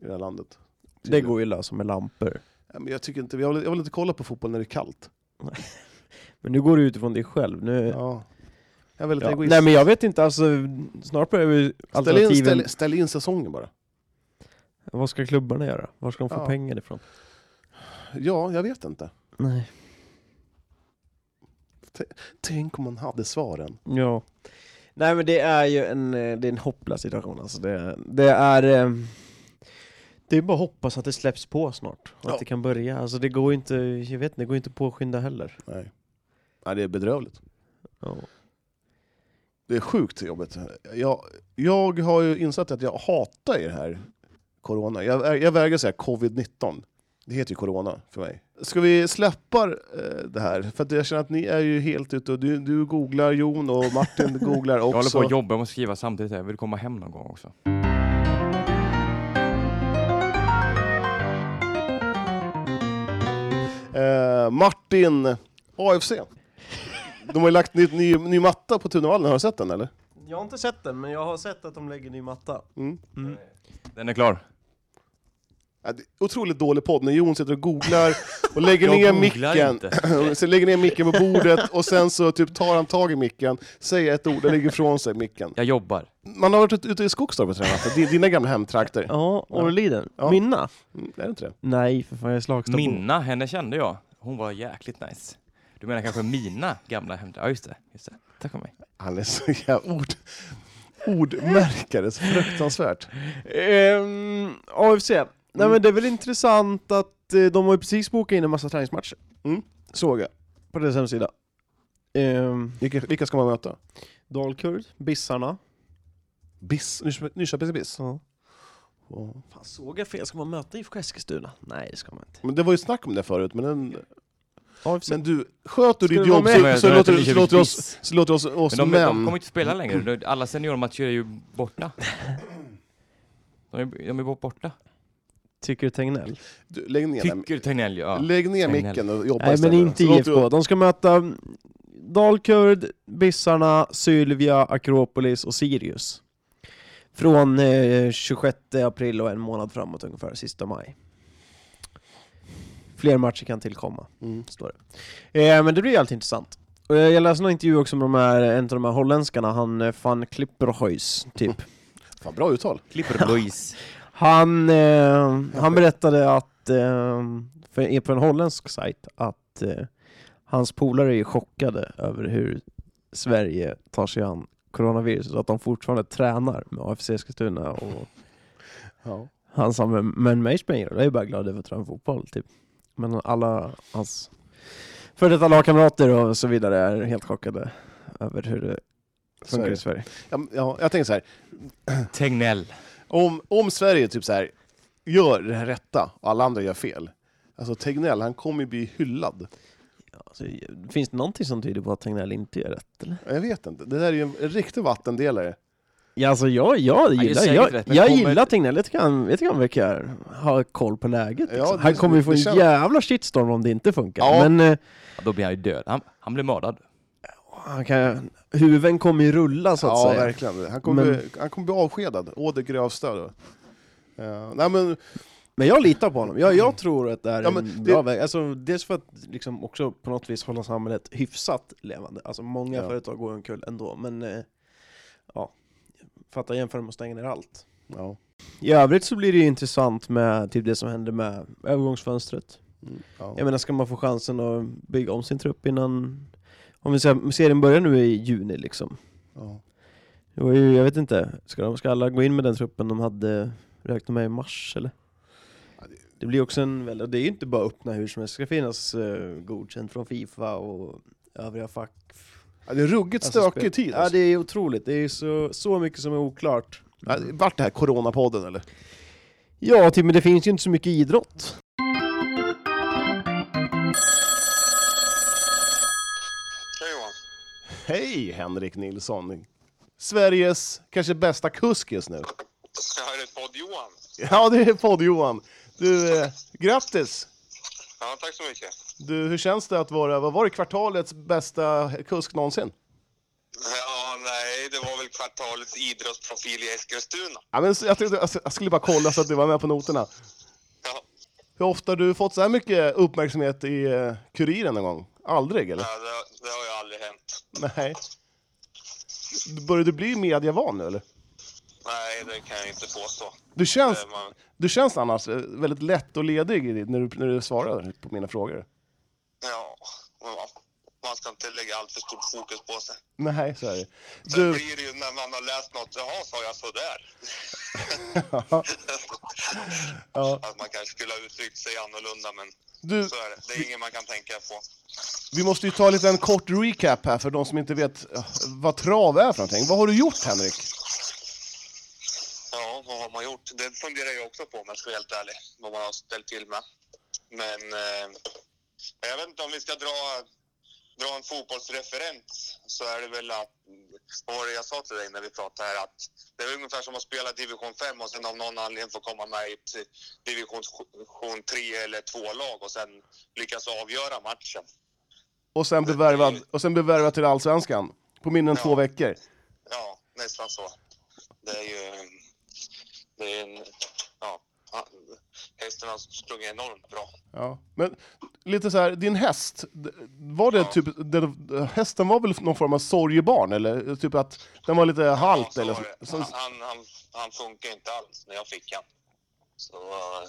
Speaker 2: i det här landet.
Speaker 3: Det går alltså. ju att lösa med lampor.
Speaker 2: Ja, Men jag, tycker inte, jag, vill, jag vill inte kolla på fotboll när det är kallt.
Speaker 3: Men nu går du utifrån dig själv. Nu...
Speaker 2: Ja. Jag är väldigt
Speaker 3: Ja.
Speaker 2: egoist.
Speaker 3: Nej men jag vet inte, alltså snart börjar vi
Speaker 2: ställ, in,
Speaker 3: alternativen...
Speaker 2: ställ, ställ in säsongen bara.
Speaker 3: Vad ska klubbarna göra? Var ska de få
Speaker 2: Ja.
Speaker 3: pengar ifrån?
Speaker 2: Ja, jag vet inte.
Speaker 3: Nej.
Speaker 2: Tänk om man hade svaren.
Speaker 3: Ja. Nej men det är ju en, eh, det är en hopplös situation alltså. Det, det är... eh, Det är bara att hoppas att det släpps på snart. Och
Speaker 2: Ja.
Speaker 3: att det kan börja. Alltså det går ju inte, jag vet inte, det går ju inte att påskynda heller.
Speaker 2: Nej. Nej, det är bedrövligt.
Speaker 3: Ja.
Speaker 2: Det är sjukt jobbigt. Jag, jag har ju insett att jag hatar ju det här corona. Jag, jag vägrar säga covid-19. Det heter ju corona för mig. Ska vi släppa eh, det här? För att jag känner att ni är ju helt ute och du, du googlar Jon och Martin googlar
Speaker 1: Jag håller
Speaker 2: också.
Speaker 1: på att jobba, jag måste skriva samtidigt här. Jag vill komma hem någon gång också.
Speaker 2: eh, Martin, AFC. De har ju lagt ny, ny, ny matta på Tunavallen, har du sett den eller?
Speaker 3: Jag har inte sett den, men jag har sett att de lägger ny matta.
Speaker 2: Mm.
Speaker 1: Den är klar.
Speaker 2: Ja, det är Otroligt dålig podd när Jon sitter och googlar och lägger
Speaker 1: Jag
Speaker 2: ner
Speaker 1: googlar
Speaker 2: micken.
Speaker 1: inte.
Speaker 2: Sen lägger ner micken på bordet och sen så typ tar han tag i micken, säger ett ord och lägger ifrån sig micken.
Speaker 1: Jag jobbar.
Speaker 2: Man har varit ute i Skogstorp och tränat, det är dina gamla hemtrakter.
Speaker 3: Ja, Orrliden.
Speaker 2: Ja.
Speaker 3: Minna?
Speaker 2: Mm, är det inte det?
Speaker 3: Nej, för fan jag är Slagstabo.
Speaker 1: Minna, henne kände jag. Hon var jäkligt nice. Du menar kanske mina gamla hämnd? Ja, just det. Just det. Tack för mig.
Speaker 2: Han är så jävla ord, ordmärkare, så fruktansvärt.
Speaker 3: Ehm, AFC. Nej men det är väl intressant att eh, de har ju precis bokat in en massa träningsmatcher.
Speaker 2: Mm.
Speaker 3: Såg jag. På deras hemsida. Ehm,
Speaker 2: Vilka, vilka ska man möta?
Speaker 3: Dalkurd, Bissarna.
Speaker 2: Biss, Nyköp- Nyköpings Biss?
Speaker 3: Ja.
Speaker 2: Ja.
Speaker 3: Fan, såg jag fel? Ska man möta IFK Eskilstuna? Nej det ska man inte.
Speaker 2: Men det var ju snack om det förut, men, den,
Speaker 3: AFC.
Speaker 2: men du, sköter du
Speaker 3: Ska
Speaker 2: ditt
Speaker 3: du vara
Speaker 2: jobb
Speaker 3: med?
Speaker 2: så, så,
Speaker 1: Jag
Speaker 2: låter,
Speaker 1: heter
Speaker 2: så låter du
Speaker 1: Nyköpings
Speaker 2: oss, så låter oss, oss
Speaker 1: Men de, de
Speaker 2: män. Mm.
Speaker 1: kommer inte spela längre. De- Alla seniormatcher är ju borta. De är, de är bara borta.
Speaker 3: Tycker Tegnell?
Speaker 2: Du, lägg ner den.
Speaker 1: Tycker Tegnell, ja.
Speaker 2: Lägg ner
Speaker 1: Tegnell.
Speaker 2: micken och jobba
Speaker 3: Nej men
Speaker 2: istället.
Speaker 3: inte
Speaker 2: Så låter
Speaker 3: IFK. De ska möta Dalkurd, Bissarna, Sylvia, Akropolis och Sirius. Från eh, 26 april och en månad framåt ungefär, sista maj. Fler matcher kan tillkomma,
Speaker 2: du- Mm.
Speaker 3: står det. Eh, men det blir alltid intressant. Och jag, jag läste någon intervju också med de här, en av de här holländskarna, han eh, van Klipperhuis, typ.
Speaker 2: Fan, bra uttal.
Speaker 1: Klipper boys.
Speaker 3: Han, eh, han berättade att, eh, för, på en holländsk sajt, att eh, hans polare är chockade över hur Sverige tar sig an coronaviruset och att de fortfarande tränar med AFC Eskilstuna. Och
Speaker 2: Ja.
Speaker 3: han sa, men, men mig spelar ingen roll, jag är bara glad över att träna fotboll. Typ. Men alla hans före detta lagkamrater och så vidare är helt chockade över hur det
Speaker 2: Så är
Speaker 3: Funkar i
Speaker 2: det.
Speaker 3: Sverige.
Speaker 2: Ja, men, ja, jag tänker så här,
Speaker 1: Tegnell.
Speaker 2: om, om Sverige typ så här, gör det rätta och alla andra gör fel, alltså Tegnell, han kommer ju bli hyllad.
Speaker 3: Alltså, finns det någonting som tyder på att Tegnell inte gör rätt? Eller?
Speaker 2: Jag vet inte, det där är ju en riktig vattendelare.
Speaker 3: Ja, alltså jag, jag
Speaker 1: gör
Speaker 3: gillar,
Speaker 1: säkert
Speaker 3: jag,
Speaker 1: rätt, men
Speaker 3: jag
Speaker 1: kommer-
Speaker 3: gillar Tegnell, jag tycker han, jag tycker han verkar ha koll på läget.
Speaker 2: Ja,
Speaker 3: Liksom.
Speaker 2: det-
Speaker 3: han kommer ju få
Speaker 2: det
Speaker 3: en
Speaker 2: känns-
Speaker 3: jävla shitstorm om det inte funkar.
Speaker 2: Ja.
Speaker 3: Men eh,
Speaker 1: Ja, då blir han ju död. Han, han blir mördad.
Speaker 3: han kan, huvuden kommer ju rulla så att
Speaker 2: Ja,
Speaker 3: säga.
Speaker 2: verkligen. Han kommer,
Speaker 3: Men-
Speaker 2: bli, han kommer bli avskedad å det grövsta. Då. Eh, nej, men,
Speaker 3: Men jag litar på honom. Jag, jag tror att det här är
Speaker 2: Ja, men
Speaker 3: en
Speaker 2: det-
Speaker 3: bra väg. Alltså, dels för att liksom också på något vis hålla samhället hyfsat levande. Alltså många
Speaker 2: Ja.
Speaker 3: företag går omkull ändå, men eh, ja. Fatta jämför med att stänga ner allt.
Speaker 2: ja.
Speaker 3: I övrigt så blir det ju intressant med typ det som hände med övergångsfönstret.
Speaker 2: Mm, ja.
Speaker 3: Jag menar, ska man få chansen att bygga om sin trupp innan... Om vi säger serien börjar nu i juni liksom.
Speaker 2: ja.
Speaker 3: Det var ju, jag vet inte, ska, de, ska alla gå in med den truppen de hade räknat med i mars eller? Det blir också en, väl, det är ju inte bara öppna hur som helst, det ska finnas eh, godkänt från Fifa och övriga fack.
Speaker 2: Ja, det är ruggigt
Speaker 3: Alltså,
Speaker 2: stökig
Speaker 3: spel-
Speaker 2: tid.
Speaker 3: Ja
Speaker 2: Alltså.
Speaker 3: det är otroligt, det är ju så, så mycket som är oklart.
Speaker 2: Ja, det... Vart det här coronapodden eller?
Speaker 3: Ja Tim, men det finns ju inte så mycket idrott.
Speaker 2: Hej Henrik Nilsson! Sveriges kanske bästa kusk just nu.
Speaker 10: Ja, är det podd-Johan?
Speaker 2: Ja, det är podd-Johan. Du, eh, grattis!
Speaker 10: Ja, tack så mycket.
Speaker 2: Du, hur känns det att vara, vad var det, kvartalets bästa kusk någonsin?
Speaker 10: Ja, nej, det var väl kvartalets idrottsprofil i Eskilstuna.
Speaker 2: Ja, men så- jag, tänkte, alltså, jag skulle bara kolla så att du var med på noterna.
Speaker 10: Ja,
Speaker 2: Hur ofta har du fått så här mycket uppmärksamhet i eh, Kuriren någon gång? Aldrig eller?
Speaker 10: ja, det, det har ju aldrig hänt.
Speaker 2: Nej. Börjar du bli medievan nu eller?
Speaker 10: Nej, det kan jag inte påstå.
Speaker 2: Du känns,
Speaker 10: Eh, Man,
Speaker 2: du känns annars eh, väldigt lätt och ledig i- när du, när du svarar på mina frågor.
Speaker 10: ja, man- man ska inte lägga allt för stort fokus på sig.
Speaker 2: Nej, så är det.
Speaker 10: Sen
Speaker 2: Du,
Speaker 10: blir det ju när man har läst något, jaha, sa jag sådär?
Speaker 2: Ja.
Speaker 10: Att man kanske skulle ha uttryckt sig annorlunda, men
Speaker 2: du,
Speaker 10: så är det. Det är inget man kan tänka på.
Speaker 2: vi måste ju ta lite en kort recap här för de som inte vet eh, vad trav är för någonting. Vad har du gjort Henrik?
Speaker 10: Ja, vad har man gjort? Det funderar jag också på om jag ska vara helt ärlig. Vad man har ställt till med. Men eh, jag vet inte om vi ska dra, dra en fotbollsreferens. Så är det väl att, vad var det jag sa till dig när vi pratade här? Att det är väl ungefär som att spela division 5 och sen av någon anledning få komma med i ett division, division 3 eller 2-lag och sen lyckas avgöra matchen.
Speaker 2: Och sen bevärvad, och sen bevärvad till Allsvenskan på mindre än
Speaker 10: Ja.
Speaker 2: två veckor.
Speaker 10: Ja, nästan så. Det är ju... Det är en, ja, han- hästen har sprungit enormt bra.
Speaker 2: Ja. Men lite så här, din häst, d- var det typ, den, hästen var väl någon form av sorgebarn eller typ att den var lite halt
Speaker 10: så
Speaker 2: eller?
Speaker 10: var det.
Speaker 2: Så,
Speaker 10: Han, han, han, han funkar inte alls när jag fick han. Så, eh,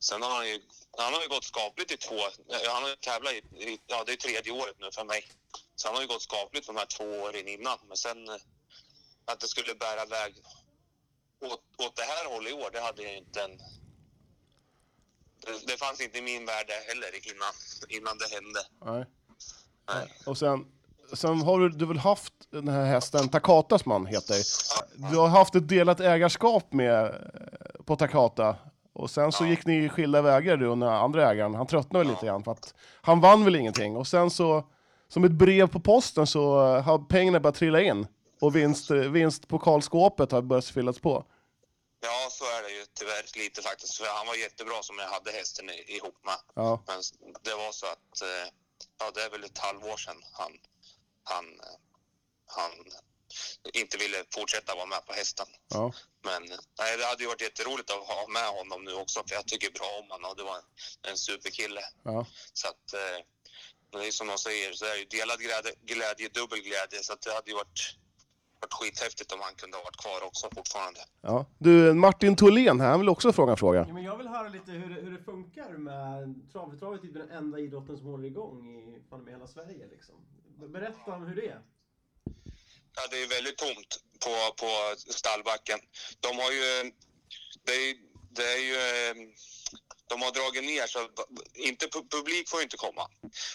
Speaker 10: sen har han ju, han har ju gått skapligt i två, eh, han har ju tävlat i, i, ja det är tredje året nu för mig. Så han har ju gått skapligt de här två åren innan. Men sen eh, att det skulle bära iväg åt, åt det här hållet i år, det hade jag inte en... Det, det fanns inte i min värld heller innan, innan det hände.
Speaker 2: nej.
Speaker 10: Nej.
Speaker 2: Och sen, sen har du, du väl haft den här hästen, Takata som han heter. Du har haft ett delat ägarskap med, eh, på Takata. Och sen så gick ni skilda vägar du och den andra ägaren. Han tröttnade väl lite grann för att han vann väl ingenting. Och sen så, som ett brev på posten så eh, har pengarna börjat trilla in. Och vinst, eh, vinst på Karlskåpet har börjat fyllas på.
Speaker 10: Ja, så är det ju tyvärr lite faktiskt. För han var jättebra som jag hade hästen i- ihop med.
Speaker 2: Ja.
Speaker 10: Men s- det var så att, eh, ja det är väl ett halvår sedan han, han, eh, han inte ville fortsätta vara med på hästen.
Speaker 2: Ja.
Speaker 10: Men eh, nej, det hade ju varit jätteroligt att ha med honom nu också för jag tycker bra om honom och det var en, en superkille.
Speaker 2: Ja.
Speaker 10: Så att, eh, men det är som de säger, så är ju delad glädje, glädje dubbel glädje. Så att det hade ju varit, varit skithäftigt om han kunde ha varit kvar också fortfarande.
Speaker 2: Ja. Du, Martin Tholén här, han vill också fråga en fråga.
Speaker 3: men jag vill höra lite hur det, hur det funkar med trav. Trav är typ den enda idrotten som håller igång i, i hela Sverige liksom. Berätta om hur det är.
Speaker 10: Ja, det är väldigt tomt på, på stallbacken. De har ju... Det är, det är ju... eh, de har dragit ner så inte, pu- publik får ju inte komma.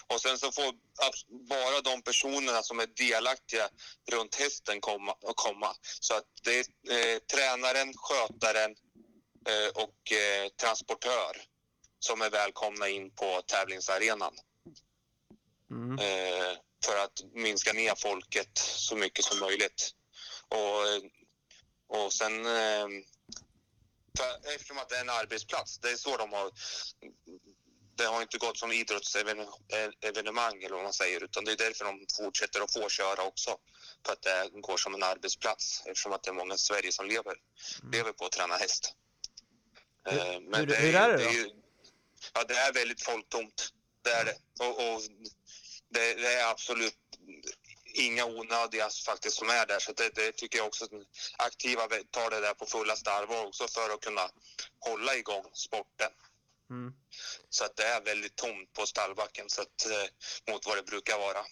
Speaker 10: Och sen så får att bara de personerna som är delaktiga runt hästen komma. Och komma. Så att det är eh, tränaren, skötaren eh, och eh, transportör som är välkomna in på tävlingsarenan. Eh, för att minska ner folket så mycket som möjligt. Och, eh, och sen... Eh, för, eftersom att det är en arbetsplats, det är så de har... Det har inte gått som idrottsevenemang eller vad man säger utan det är därför de fortsätter att få köra också. För att det går som en arbetsplats eftersom att det är många i Sverige som lever, lever på att träna häst. Eh,
Speaker 5: Mm. hur-
Speaker 10: det
Speaker 5: hur
Speaker 10: ju-
Speaker 5: är det då?
Speaker 10: är ju- ja, det är väldigt folktomt. Det är det. Och, och det, det är absolut inga onödiga faktiskt som är där. Så det, det tycker jag också att aktiva tar det där på fullaste allvar också för att kunna hålla igång sporten.
Speaker 5: Mm.
Speaker 10: Så att det är väldigt tomt på stallbacken så att, eh, mot vad det brukar vara.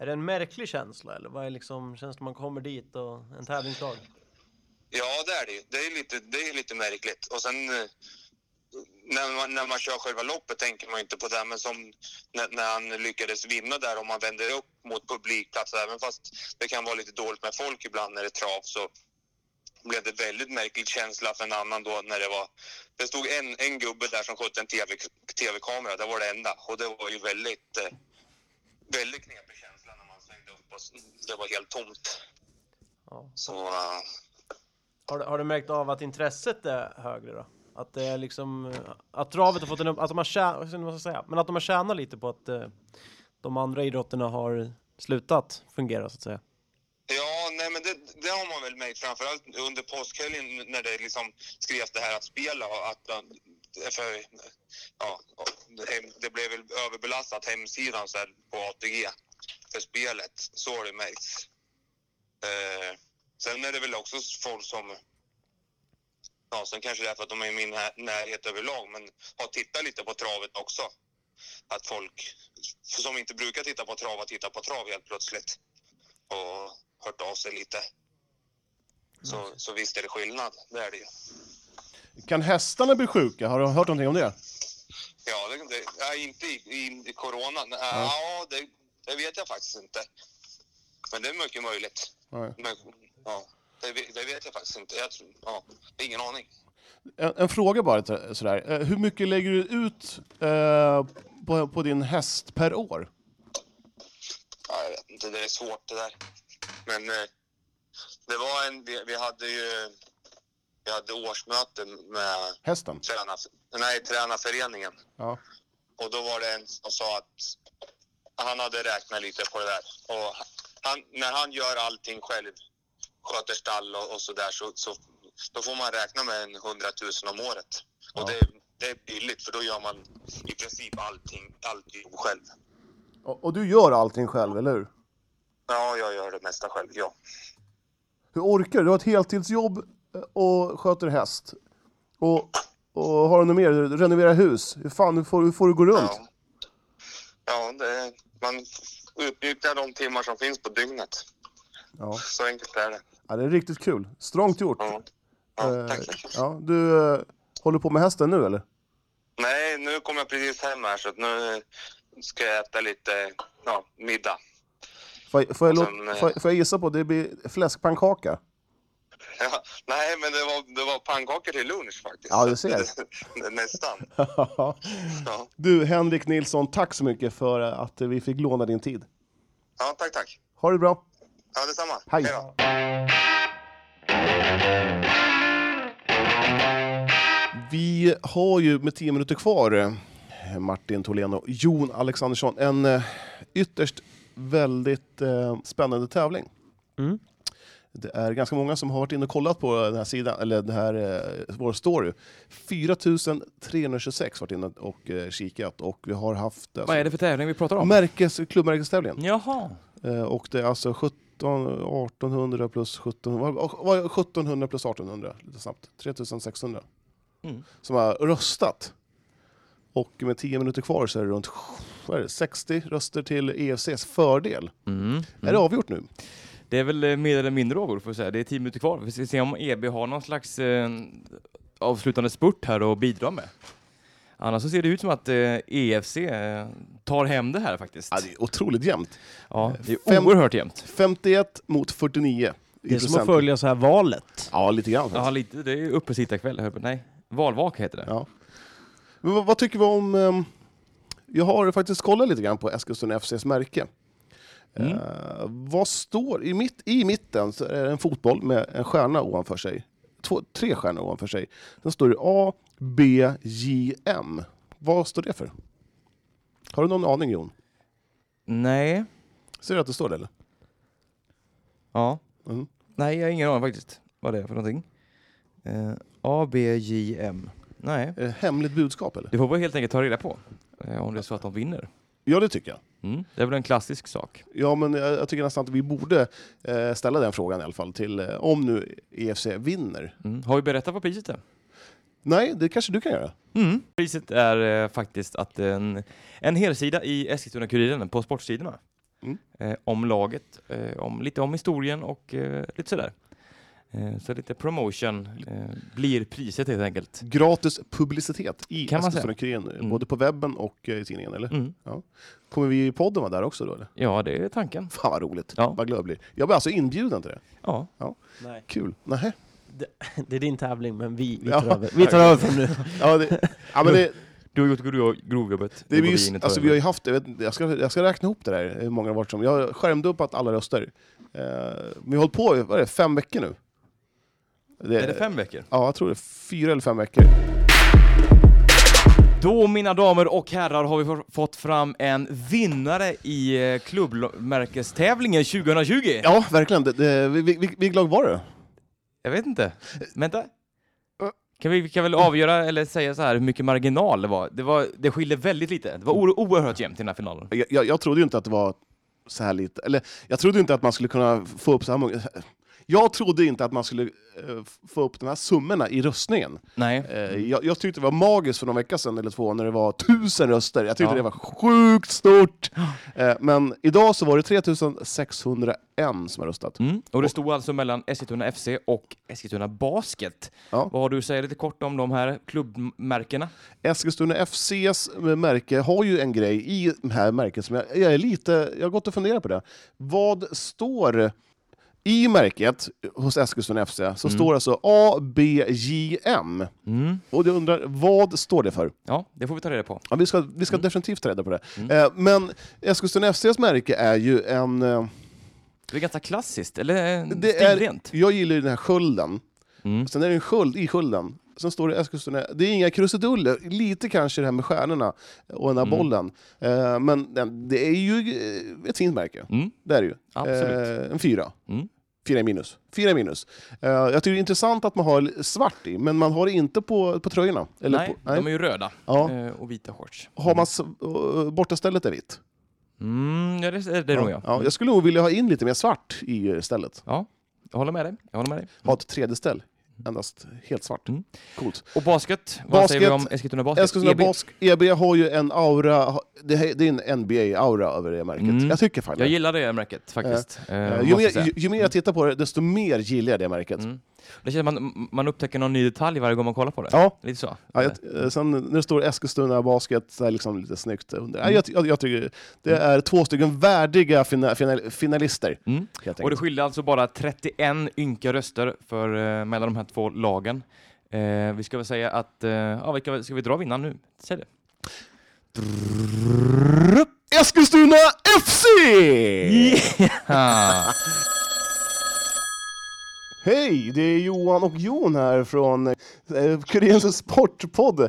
Speaker 11: Är det en märklig känsla eller vad är liksom känslan man kommer dit och en tävlingsdag?
Speaker 10: Ja, det är det ju. Det är lite, det är lite märkligt. Och sen eh, när man, när man kör själva loppet tänker man ju inte på det. Men som när, när han lyckades vinna där, om man vänder upp mot publikplats, även fast det kan vara lite dåligt med folk ibland när det är trav, så blev det väldigt märklig känsla för en annan då när det var... Det stod en, en gubbe där som skötte en TV, tv-kamera, det var det enda. Och det var ju väldigt, eh, väldigt knepig känsla när man svängde upp och s- det var helt tomt.
Speaker 11: Ja.
Speaker 10: Så... eh,
Speaker 11: Har, du- har du märkt av att intresset är högre då? Att det är liksom, eh, att travet har fått en, upp- att de har tjänat, vad ska jag säga, men att de har tjänat lite på att eh, de andra idrotterna har slutat fungera så att säga.
Speaker 10: Ja, nej men det, det har man väl märkt framförallt under påskhelgen när det liksom skrevs det här att spela och att eh, för, ja, hem- det blev väl överbelastat hemsidan så här på ATG för spelet. Så har det märkts. Eh, sen är det väl också folk som ja, sen kanske det är för att de är i min när- närhet överlag men har tittat lite på travet också. Att folk som inte brukar titta på trav har tittat på trav helt plötsligt och hört av sig lite. Så, så visst är det skillnad, det är det ju.
Speaker 2: Kan hästarna bli sjuka? Har du hört någonting om det?
Speaker 10: Ja, det, det, ja inte i, i, i corona. Nej, Ja, det, det vet jag faktiskt inte. Men det är mycket möjligt.
Speaker 2: Nej.
Speaker 10: Men, ja, det, ve- det vet jag faktiskt inte. Jag, tror- ja, ingen aning.
Speaker 2: En, en fråga bara t- sådär. Eh, Hur mycket lägger du ut eh, på, på din häst per år?
Speaker 10: Ja, jag vet inte, det är svårt det där. Men eh, det var en... Vi, vi hade ju... Vi hade årsmöte med
Speaker 2: Hästen?
Speaker 10: tränar, nej, tränarföreningen.
Speaker 2: Ja.
Speaker 10: Och då var det en som sa att han hade räknat lite på det där. Och han, när han gör allting själv, sköter stall och, och sådär, så, så då får man räkna med en 100 000 om året. Och det, det är billigt för då gör man i princip allting, allt jobb själv.
Speaker 2: Och, och du gör allting själv, eller hur?
Speaker 10: Ja, jag gör det mesta själv, ja.
Speaker 2: Hur orkar du? Du har ett heltidsjobb eh, och sköter häst. Och, och har du något mer? Renovera hus? Hur fan, hur får, hur får du gå runt?
Speaker 10: Ja, ja det, man utnyttjar de timmar som finns på dygnet.
Speaker 2: Ja.
Speaker 10: Så enkelt är det.
Speaker 2: Ja, det är riktigt kul. Strångt gjort.
Speaker 10: Ja. Ja,
Speaker 2: Eh,
Speaker 10: tack, tack.
Speaker 2: ja, du eh, håller på med hästen nu eller?
Speaker 10: Nej, nu kom jag precis hem här så att nu ska jag äta lite ja, middag.
Speaker 2: Får jag, får jag,
Speaker 10: Och
Speaker 2: låt,
Speaker 10: sen, eh,
Speaker 2: får jag, får jag gissa på att det blir fläskpannkaka?
Speaker 10: Ja, nej, men det var, det var pannkakor till lunch faktiskt.
Speaker 2: Ja, du ser.
Speaker 10: Nästan. Ja.
Speaker 2: du Henrik Nilsson, tack så mycket för att vi fick låna din tid.
Speaker 10: ja, tack, tack.
Speaker 2: Ha det bra.
Speaker 10: Ja, detsamma.
Speaker 2: Hej.
Speaker 10: då.
Speaker 2: Vi har ju med 10 minuter kvar, eh, Martin Tholén och Jon Alexandersson, en eh, ytterst väldigt eh, spännande tävling.
Speaker 11: Mm.
Speaker 2: Det är ganska många som har varit inne och kollat på den här sidan, eller det här, eh, vår story. 4326 varit inne och eh, kikat och vi har haft alltså,
Speaker 1: Vad är det för tävling vi pratar om?
Speaker 2: märkes, klubbmärkestävlingen.
Speaker 1: Jaha.
Speaker 2: Eh, och det är alltså 17, 1800 plus 1700, vad- vad är 1700 plus 1800, lite snabbt, 3600.
Speaker 1: Mm.
Speaker 2: Som har röstat. Och med 10 minuter kvar så är det runt vad är det, 60 röster till EFCs fördel.
Speaker 1: Mm.
Speaker 2: Är det avgjort nu?
Speaker 1: Det är väl eh, mer eller mindre avgjort får E jag säga. Det är 10 minuter kvar. Vi ska se om EB har någon slags eh, avslutande spurt här att bidra med. Annars så ser det ut som att eh, EFC eh, tar hem det här faktiskt.
Speaker 2: Ja, det är otroligt jämnt. Eh,
Speaker 1: Ja, det är
Speaker 2: Fem-
Speaker 1: oerhört jämnt.
Speaker 2: 51 mot 49. i
Speaker 11: Det är som att
Speaker 2: procent.
Speaker 11: följa så här valet.
Speaker 2: Ja, lite grann.
Speaker 1: Ja, lite. Det är ju uppesittarkväll. höll jag på- Nej, valvaka heter det.
Speaker 2: Ja. Men vad, vad tycker vi om... ehm, jag har faktiskt kollat lite grann på Eskilstuna FCs märke.
Speaker 1: Mm.
Speaker 2: Eh, vad står... I, mitt, I mitten så är det en fotboll med en stjärna ovanför sig. Två, tre stjärnor ovanför sig. Sen står det A, B, J, M. Vad står det för? Har du någon aning Jon?
Speaker 1: Nej.
Speaker 2: Ser du att det står det eller?
Speaker 1: Ja.
Speaker 2: Mm.
Speaker 1: Nej, jag har ingen aning faktiskt vad det är för någonting. Eh, A, B, J, M. Nej.
Speaker 2: Är det hemligt budskap eller?
Speaker 1: Det får vi helt enkelt ta reda på. Eh, om det är så att de vinner.
Speaker 2: Ja, det tycker jag.
Speaker 1: Mm. Det är väl en klassisk sak.
Speaker 2: Ja, men jag, jag tycker nästan att vi borde eh, ställa den frågan i alla fall till eh, om nu EFC vinner.
Speaker 1: Mm. Har vi berättat vad priset är?
Speaker 2: Nej, det kanske du kan göra.
Speaker 1: Mm. Priset är eh, faktiskt att en, en helsida i Eskilstuna-Kuriren på sportsidorna.
Speaker 2: Mm.
Speaker 1: Eh, om laget, eh, om, lite om historien och eh, lite sådär. Eh, så lite promotion eh, blir priset helt enkelt.
Speaker 2: Gratis publicitet i
Speaker 1: Kan man säga.
Speaker 2: Eskilstuna-Kuriren,
Speaker 1: Mm.
Speaker 2: eh, både på webben och eh, i tidningen, eller?
Speaker 1: Mm.
Speaker 2: Kommer vi i podden vara där också då? Eller?
Speaker 1: Ja, det är tanken.
Speaker 2: Fan vad roligt,
Speaker 1: Ja.
Speaker 2: vad glad jag blir. Jag blir alltså inbjuden till det.
Speaker 1: Ja.
Speaker 11: Nej.
Speaker 2: Kul. Nähä.
Speaker 11: Det är din tävling, men vi, vi
Speaker 2: Ja.
Speaker 11: tar över. Vi tar över från nu.
Speaker 2: Ja, det, ja, men det,
Speaker 1: Du har gjort grov- grovjobbet. Nu
Speaker 2: det är
Speaker 1: går
Speaker 2: ju,
Speaker 1: vi in och tar
Speaker 2: alltså, vi har ju haft, jag, vet, jag, ska, jag ska räkna ihop det där, hur många det har varit som. Jag skärmde upp att alla röster. Eh, vi har hållit på i vad är det, fem veckor nu.
Speaker 1: Är det fem veckor?
Speaker 2: Ja, jag tror det. är Fyra eller fem veckor.
Speaker 1: Då, mina damer och herrar, har vi få- fått fram en vinnare i eh, klubbmärkestävlingen 2020.
Speaker 2: Ja, verkligen. Det, det, vi, vi, vi- vilket lag var det?
Speaker 1: Jag vet
Speaker 2: Eh,
Speaker 1: inte. Vänta. Kan vi, vi kan väl avgöra eller säga så här hur mycket marginal det var. Det, var, det skilde väldigt lite. Det var o- oerhört jämnt i den här finalen.
Speaker 2: Jag, jag, jag trodde ju inte att det var så här lite. Eller, jag trodde inte att man skulle kunna få upp så här många... Jag trodde inte att man skulle eh, få upp de här summorna i röstningen.
Speaker 1: Nej.
Speaker 2: Eh, jag, jag tyckte det var magiskt för någon vecka sedan eller två när det var tusen röster. Jag tyckte
Speaker 1: Ja.
Speaker 2: det var sjukt stort! Eh, men idag så var det 3601 som har röstat.
Speaker 1: Mm. Och det stod alltså mellan Eskilstuna FC och Eskilstuna Basket.
Speaker 2: Ja.
Speaker 1: Vad har du att säga lite kort om de här klubbmärkena?
Speaker 2: Eskilstuna FCs märke har ju en grej i det här märket som jag, jag är lite... Jag har gått och funderat på det. Vad står i märket hos Eskilstuna FC? Så
Speaker 1: Mm.
Speaker 2: står alltså A, B, J, M. Och jag undrar, vad står det för?
Speaker 1: Ja, det får vi ta reda på. Mm.
Speaker 2: Ja, vi ska, vi ska definitivt ta reda på det. Eh, men Eskilstuna FCs märke är ju en... Eh,
Speaker 1: Det är ganska klassiskt, eller eh,
Speaker 2: det är,
Speaker 1: stilrent.
Speaker 2: jag gillar ju den här skölden.
Speaker 1: Mm.
Speaker 2: Sen är det en sköld i skölden. Sen står det Eskilstuna. Det är inga krusiduller, lite kanske det här med stjärnorna och den här
Speaker 1: Mm.
Speaker 2: bollen. Eh, men den, det är ju eh, ett fint märke.
Speaker 1: Mm.
Speaker 2: Det är det ju.
Speaker 1: Absolut.
Speaker 2: Eh, en fyra.
Speaker 1: Mm.
Speaker 2: Fyra i minus. Fyra i minus. Eh, jag tycker det är intressant att man har svart i, men man har det inte på, på tröjorna. Eller
Speaker 1: nej,
Speaker 2: på, nej.
Speaker 1: de är ju röda
Speaker 2: Ja.
Speaker 1: eh, och vita shorts.
Speaker 2: Har man s- eh, bortastället är vitt.
Speaker 1: Mm, ja, det, det är nog jag.
Speaker 2: Ja, jag skulle nog vilja ha in lite mer svart i eh, stället.
Speaker 1: Ja, jag håller med dig. Jag håller med dig.
Speaker 2: Ha ett tredje ställ. Endast helt svart.
Speaker 1: Mm.
Speaker 2: Coolt.
Speaker 1: Och basket, vad säger vi om E
Speaker 2: Basket.
Speaker 1: Eskilstuna Basket?
Speaker 2: Eskilstuna
Speaker 1: EB.
Speaker 2: Bask, EB E har ju en aura, det här- det är en NBA-aura över det märket.
Speaker 1: Mm.
Speaker 2: Jag tycker fan
Speaker 1: Jag
Speaker 2: det.
Speaker 1: gillar det märket faktiskt. Eh,
Speaker 2: Eh,
Speaker 1: måste
Speaker 2: ju,
Speaker 1: jag
Speaker 2: mer,
Speaker 1: säga.
Speaker 2: ju, ju mer jag tittar på det, desto mer gillar jag det märket.
Speaker 1: Mm. Det känns som man, man upptäcker någon ny detalj varje gång man kollar på det.
Speaker 2: Ja.
Speaker 1: Lite så.
Speaker 2: Ja, jag, eh, sen när det står Eskilstuna Basket, så är det liksom lite snyggt under.
Speaker 1: Mm.
Speaker 2: Ja, Jag, ty- jag, jag tycker det är två stycken värdiga fina, final, finalister.
Speaker 1: Mm.
Speaker 2: Helt
Speaker 1: Och det
Speaker 2: enkelt.
Speaker 1: skilde alltså bara 31 ynka röster för, eh, mellan de här två lagen. Eh, vi ska väl säga att, eh, ja, vi ska, ska vi dra vinnaren nu? Säg det.
Speaker 2: Eskilstuna FC! Hej, det är Johan och Jon här från eh, Kuriren's Sportpodd.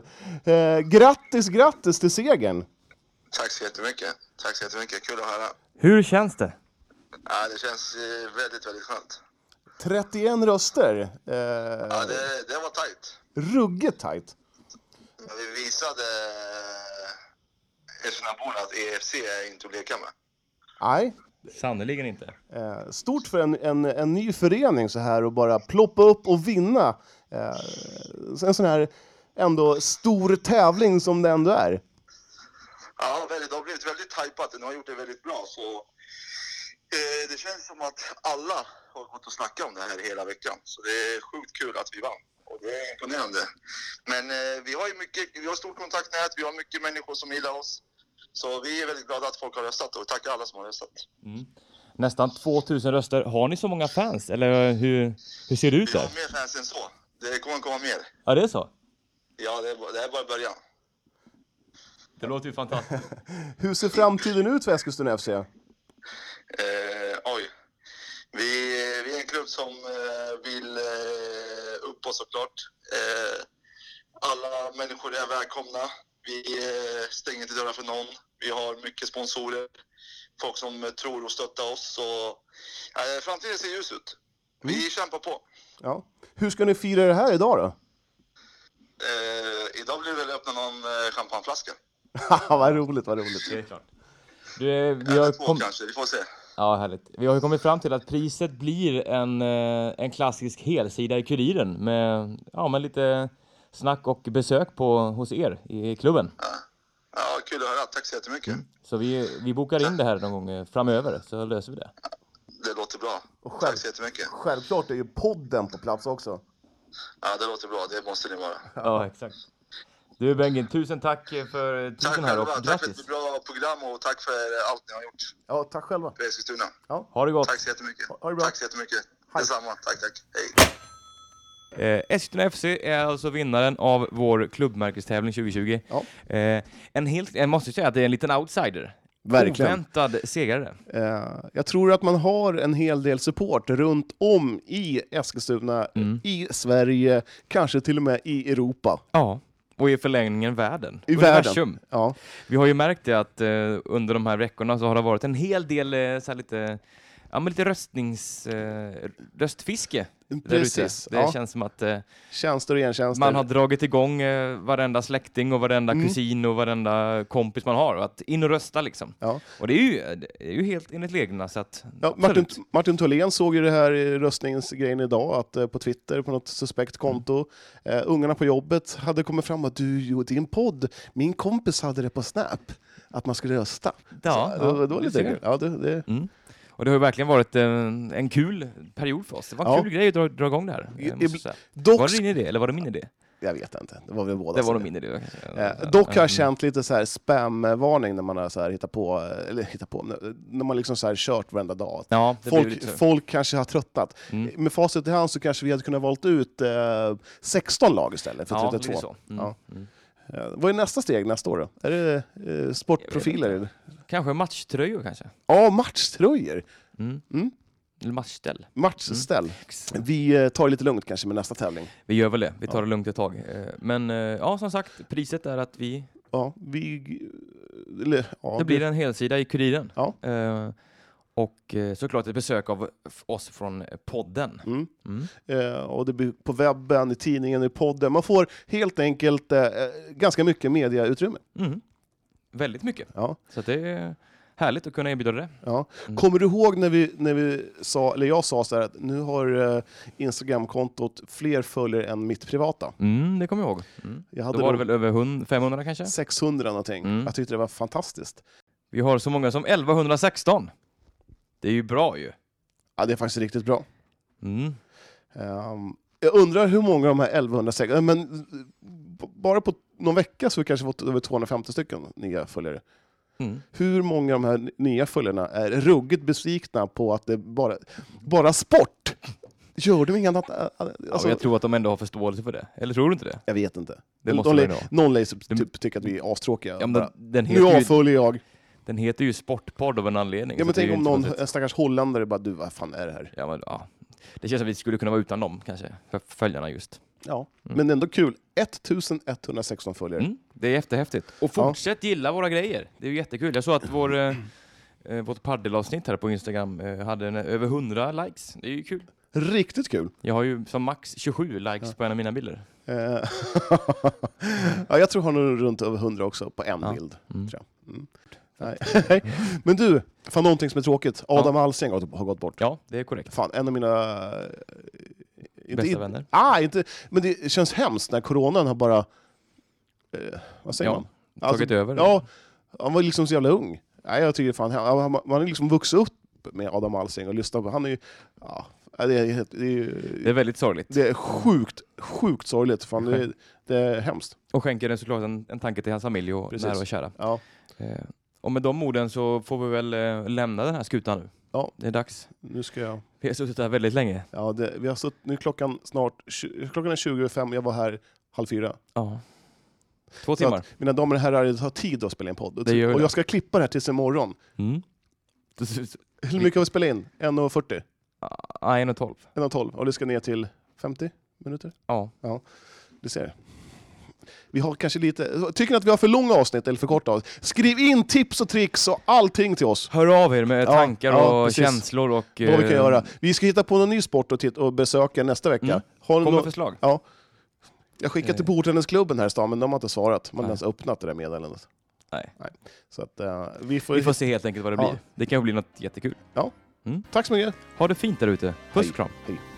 Speaker 2: Eh, grattis, grattis till segern!
Speaker 10: Tack så jättemycket. Tack så jättemycket. Kul att höra.
Speaker 1: Hur känns det?
Speaker 10: Ja, det känns eh, väldigt, väldigt skönt.
Speaker 2: 31 röster.
Speaker 10: Ja,
Speaker 2: Eh,
Speaker 10: det, det var tajt.
Speaker 2: ruggigt tajt.
Speaker 10: Men Vi visade eh, Eskilstunaborna att EFC är inte att leka med.
Speaker 2: Nej.
Speaker 1: Sannerligen inte.
Speaker 2: Eh, stort för en, en, en ny förening så här och bara ploppa upp och vinna. Eh, en sån här ändå stor tävling som det ändå är.
Speaker 10: Ja, väldigt, det har blivit väldigt hypat. De har gjort det väldigt bra. Så, eh, det känns som att alla har gått och snackat om det här hela veckan. Så det är sjukt kul att vi vann. Och det är imponerande. Men eh, vi har ju mycket, vi har stort kontaktnät, vi har mycket människor som gillar oss. Så vi är väldigt glada att folk har röstat och tackar alla som har röstat.
Speaker 1: Nästan 2000 röster. Har ni så många fans? Eller hur, hur ser det ut
Speaker 10: Vi
Speaker 1: där?
Speaker 10: har mer fans än så. Det kommer komma mer.
Speaker 1: Ja, det är så?
Speaker 10: Ja, det är, bara- det här är bara början.
Speaker 1: Det låter ju fantastiskt.
Speaker 2: Hur ser framtiden ut för Eskilstuna FC?
Speaker 10: Eh, oj. Vi, vi är en klubb som eh, vill eh, uppåt såklart. Eh, alla människor är välkomna. Vi eh, stänger inte dörrar för någon. Vi har mycket sponsorer. Folk som eh, tror och stöttar oss. Så, eh, framtiden ser ljus ut. Vi
Speaker 1: Mm.
Speaker 10: kämpar på.
Speaker 2: Ja. Hur ska ni fira det här idag då?
Speaker 10: Eh, idag blir det väl öppna någon eh, champagneflaska.
Speaker 2: vad roligt, vad roligt.
Speaker 1: Det är klart. Du, eh, vi, har ju
Speaker 10: Två
Speaker 1: kom...
Speaker 10: kanske, vi får se.
Speaker 1: ja, härligt. vi har ju kommit fram till att priset blir en, eh, en klassisk helsida i Kuriren med, ja, med lite snack och besök på, hos er i klubben.
Speaker 10: Ja, kul att höra. Tack så jättemycket.
Speaker 2: Mm.
Speaker 1: Så vi, vi bokar in det här någon gång eh, framöver så löser vi det.
Speaker 10: Det låter bra.
Speaker 2: själv-
Speaker 10: Tack så jättemycket.
Speaker 2: Självklart är ju podden på plats också.
Speaker 10: Ja, det låter bra. Det måste ni vara.
Speaker 1: Ja, exakt. Du Bengen, tusen tack för tiden
Speaker 10: Tack
Speaker 1: här och
Speaker 10: själva. Tack för ett
Speaker 1: grattis.
Speaker 10: bra program och tack för allt ni har gjort
Speaker 2: Ja, tack själva.
Speaker 10: för Eskilstuna.
Speaker 1: Ha det gott.
Speaker 10: Tack så jättemycket.
Speaker 2: Ha det bra.
Speaker 10: Tack så jättemycket. Detsamma. Tack, tack. Hej.
Speaker 1: Eh, Eskilstuna FC är alltså vinnaren av vår klubbmärkestävling 2020.
Speaker 2: Ja.
Speaker 1: Eh, en helt, jag måste säga att det är en liten outsider.
Speaker 2: Verkligen.
Speaker 1: Oväntad segrare.
Speaker 2: Eh, jag tror att man har en hel del support runt om i Eskilstuna,
Speaker 1: Mm.
Speaker 2: i Sverige, kanske till och med i Europa.
Speaker 1: Ja. Och i förlängningen världen.
Speaker 2: I
Speaker 1: Universum.
Speaker 2: världen. Ja.
Speaker 1: Vi har ju märkt det att eh, under de här veckorna så har det varit en hel del eh, så här lite, ja, men lite röstnings, eh, röstfiske. där ute.
Speaker 2: Precis.
Speaker 1: Det
Speaker 2: ja.
Speaker 1: känns som att eh,
Speaker 2: Tjänster och gentjänster.
Speaker 1: man har dragit igång eh, varenda släkting och varenda
Speaker 2: Mm.
Speaker 1: kusin och varenda kompis man har. Att in och rösta liksom.
Speaker 2: Ja.
Speaker 1: Och det är ju, det är ju helt enligt reglerna. Så att,
Speaker 2: Ja, Martin,
Speaker 1: absolut.
Speaker 2: Martin Tholén såg ju det här i röstningsgrejen idag, att eh, på Twitter, på något suspekt konto,
Speaker 1: Mm.
Speaker 2: eh, ungarna på jobbet hade kommit fram att du och din podd, min kompis hade det på Snap, att man skulle rösta.
Speaker 1: Ja,
Speaker 2: Så, det,
Speaker 1: ja,
Speaker 2: det var
Speaker 1: du
Speaker 2: lite
Speaker 1: ser. Mm.
Speaker 2: kul. ja, det, det,
Speaker 1: Och det har ju verkligen varit en, en kul period för oss. Det var en
Speaker 2: Ja.
Speaker 1: kul grej att dra, dra igång det här.
Speaker 2: I-
Speaker 1: jag måste
Speaker 2: ibl-
Speaker 1: säga.
Speaker 2: Dock,
Speaker 1: Var det din idé eller var det min idé?
Speaker 2: jag vet inte, det var väl båda.
Speaker 1: Det var nog
Speaker 2: sidor.
Speaker 1: min idé. Mm. jag kan säga.
Speaker 2: Eh, dock har jag känt lite så här spamvarning när man har så här hittat på, eh, eller hittat på, när man liksom så här kört varenda dag.
Speaker 1: Ja, det blir
Speaker 2: Folk,
Speaker 1: lite så. Mm.
Speaker 2: folk kanske har tröttnat. Med facit i hand så kanske vi hade kunnat valt ut eh, 16 lag istället för
Speaker 1: Ja, det
Speaker 2: 32.
Speaker 1: blir så. Mm.
Speaker 2: Ja. Eh, vad är nästa steg nästa år då? Är det eh, sportprofiler?
Speaker 1: Kanske matchtröjor kanske?
Speaker 2: Ja, matchtröjor!
Speaker 1: Mm.
Speaker 2: Mm.
Speaker 1: Eller matchställ? Mm.
Speaker 2: Matchställ. Vi eh, tar det lite lugnt kanske med nästa tävling.
Speaker 1: Vi gör väl det. Vi tar det lugnt ett tag. Eh, Men eh, ja, som sagt, priset är att vi...
Speaker 2: Ja, vi... Eller, ja,
Speaker 1: Det blir en helsida i Kuriren.
Speaker 2: Ja.
Speaker 1: Eh, Och eh, såklart ett besök av f- oss från eh, podden.
Speaker 2: Mm.
Speaker 1: Mm.
Speaker 2: Eh, och det blir på webben, i tidningen, i podden. Man får helt enkelt eh, ganska mycket mediautrymme.
Speaker 1: Mm. Väldigt mycket.
Speaker 2: Ja,
Speaker 1: Så att det är härligt att kunna erbjuda det.
Speaker 2: ja.
Speaker 1: Mm.
Speaker 2: Kommer du ihåg när, vi, när vi sa, eller jag sa så här att nu har eh, Instagramkontot fler följare än mitt privata.
Speaker 1: Mm, det kommer jag ihåg. Mm.
Speaker 2: Jag
Speaker 1: Då
Speaker 2: hade
Speaker 1: var det
Speaker 2: nog
Speaker 1: väl över 100, 500 kanske?
Speaker 2: 600 någonting.
Speaker 1: Mm.
Speaker 2: Jag tyckte det var fantastiskt.
Speaker 1: Vi har så många som 1116. Det är ju bra ju.
Speaker 2: Ja, det är faktiskt riktigt bra.
Speaker 1: Mm.
Speaker 2: Ehm, jag undrar hur många av de här 1106, eh, men eh, bara på någon vecka så har vi kanske fått över 250 stycken nya följare.
Speaker 1: Mm.
Speaker 2: hur många av de här nya följarna är ruggigt besvikna på att det bara, bara sport? Gör de inget annat? Alltså,
Speaker 1: ja,
Speaker 2: jag,
Speaker 1: jag tror att de ändå har förståelse för det. Eller tror du inte det?
Speaker 2: vet inte.
Speaker 1: Det måste
Speaker 2: någon,
Speaker 1: de
Speaker 2: lä-
Speaker 1: ändå ha.
Speaker 2: någon läser typ, tycker att vi är astråkiga.
Speaker 1: Ja, men
Speaker 2: Bara,
Speaker 1: den, den,
Speaker 2: nu
Speaker 1: heter ju,
Speaker 2: avföljer jag.
Speaker 1: den heter ju Sportpodd av en anledning.
Speaker 2: Ja,
Speaker 1: så
Speaker 2: men
Speaker 1: det är
Speaker 2: tänk
Speaker 1: ju
Speaker 2: om
Speaker 1: inte
Speaker 2: någon
Speaker 1: konstigt.
Speaker 2: en stackars holländare bara, du vad fan är det här?
Speaker 1: Ja, men, ja. Det känns som att vi skulle kunna vara utan dem kanske, för följarna just.
Speaker 2: Ja. Men ändå kul. 1116 följare.
Speaker 1: Mm, det är jättehäftigt. Och
Speaker 2: Ja.
Speaker 1: fortsätt gilla våra grejer. Det är ju jättekul. Jag såg att vår, eh, eh, vårt paddelavsnitt här på Instagram eh, hade en, över 100 likes. Det är ju kul.
Speaker 2: Riktigt kul.
Speaker 1: Jag har ju som max 27 likes på en av mina bilder.
Speaker 2: Eh, ja, jag tror han har runt över 100 också på en
Speaker 1: Ja.
Speaker 2: bild.
Speaker 1: Mm.
Speaker 2: Tror jag. Mm. Nej. Men du, fan någonting som är tråkigt. Adam Alsing har har gått bort.
Speaker 1: Ja, det är korrekt.
Speaker 2: Fan, en av mina... eh, Inte,
Speaker 1: Bästa
Speaker 2: inte-
Speaker 1: vänner.
Speaker 2: Ah, inte, men det känns hemskt när coronan har bara... Eh, vad säger
Speaker 1: Ja,
Speaker 2: man? Alltså,
Speaker 1: tagit över.
Speaker 2: Ja, han var liksom så jävla ung. Nej, jag tycker fan, hem- man man har liksom vuxit upp med Adam Alsing och lyssnat på... Han är ju... Ja, Ja, det, är, det, är, ju-
Speaker 1: Det är väldigt sorgligt.
Speaker 2: det är sjukt, sjukt sorgligt. Fan, det, är, det är hemskt.
Speaker 1: Och skänker den såklart en, en tanke till hans familj och
Speaker 2: Precis.
Speaker 1: nära och kära.
Speaker 2: Ja.
Speaker 1: Eh, och med de orden så får vi väl eh, lämna den här skutan nu.
Speaker 2: Ja.
Speaker 1: Det är dags.
Speaker 2: Nu ska jag...
Speaker 1: Vi har suttit här väldigt länge.
Speaker 2: Ja, det, vi har sutt, nu är klockan snart... tju- Klockan är 25 jag var här halv fyra.
Speaker 1: Ja. Två
Speaker 2: Så
Speaker 1: timmar.
Speaker 2: att, mina damer och herrar, det tar tid att spela in podd.
Speaker 1: Det gör
Speaker 2: och
Speaker 1: det.
Speaker 2: jag ska klippa det här tills imorgon.
Speaker 1: Mm.
Speaker 2: Hur mycket har vi spelat in? 1.40?
Speaker 1: Ja, en och tolv.
Speaker 2: 1.12? Och det ska ner till 50 minuter?
Speaker 1: Ja.
Speaker 2: Du ser. Vi har kanske lite... Tycker ni att vi har för långa avsnitt eller för korta avsnitt? Skriv in tips och tricks och allting till oss.
Speaker 1: Hör av er med
Speaker 2: Ja,
Speaker 1: tankar
Speaker 2: ja,
Speaker 1: och
Speaker 2: precis.
Speaker 1: känslor och...
Speaker 2: Vad vi kan
Speaker 1: eh,
Speaker 2: göra. Vi ska hitta på någon ny sport och, titt- och besöka nästa vecka.
Speaker 1: Mm.
Speaker 2: Har ni
Speaker 1: Kom med
Speaker 2: nå-
Speaker 1: förslag. Eh.
Speaker 2: jag skickade till bordtennisklubben här i stan, men de har inte svarat. Man har
Speaker 1: Nej.
Speaker 2: inte ens öppnat det där meddelandet.
Speaker 1: Nej.
Speaker 2: Så att, eh, vi får...
Speaker 1: Vi får se helt enkelt vad det
Speaker 2: Ja.
Speaker 1: blir. Det kan ju bli något jättekul. Mm.
Speaker 2: Tack så mycket!
Speaker 1: Ha det fint där ute. Puss
Speaker 2: Hej.
Speaker 1: och kram.
Speaker 2: Hej.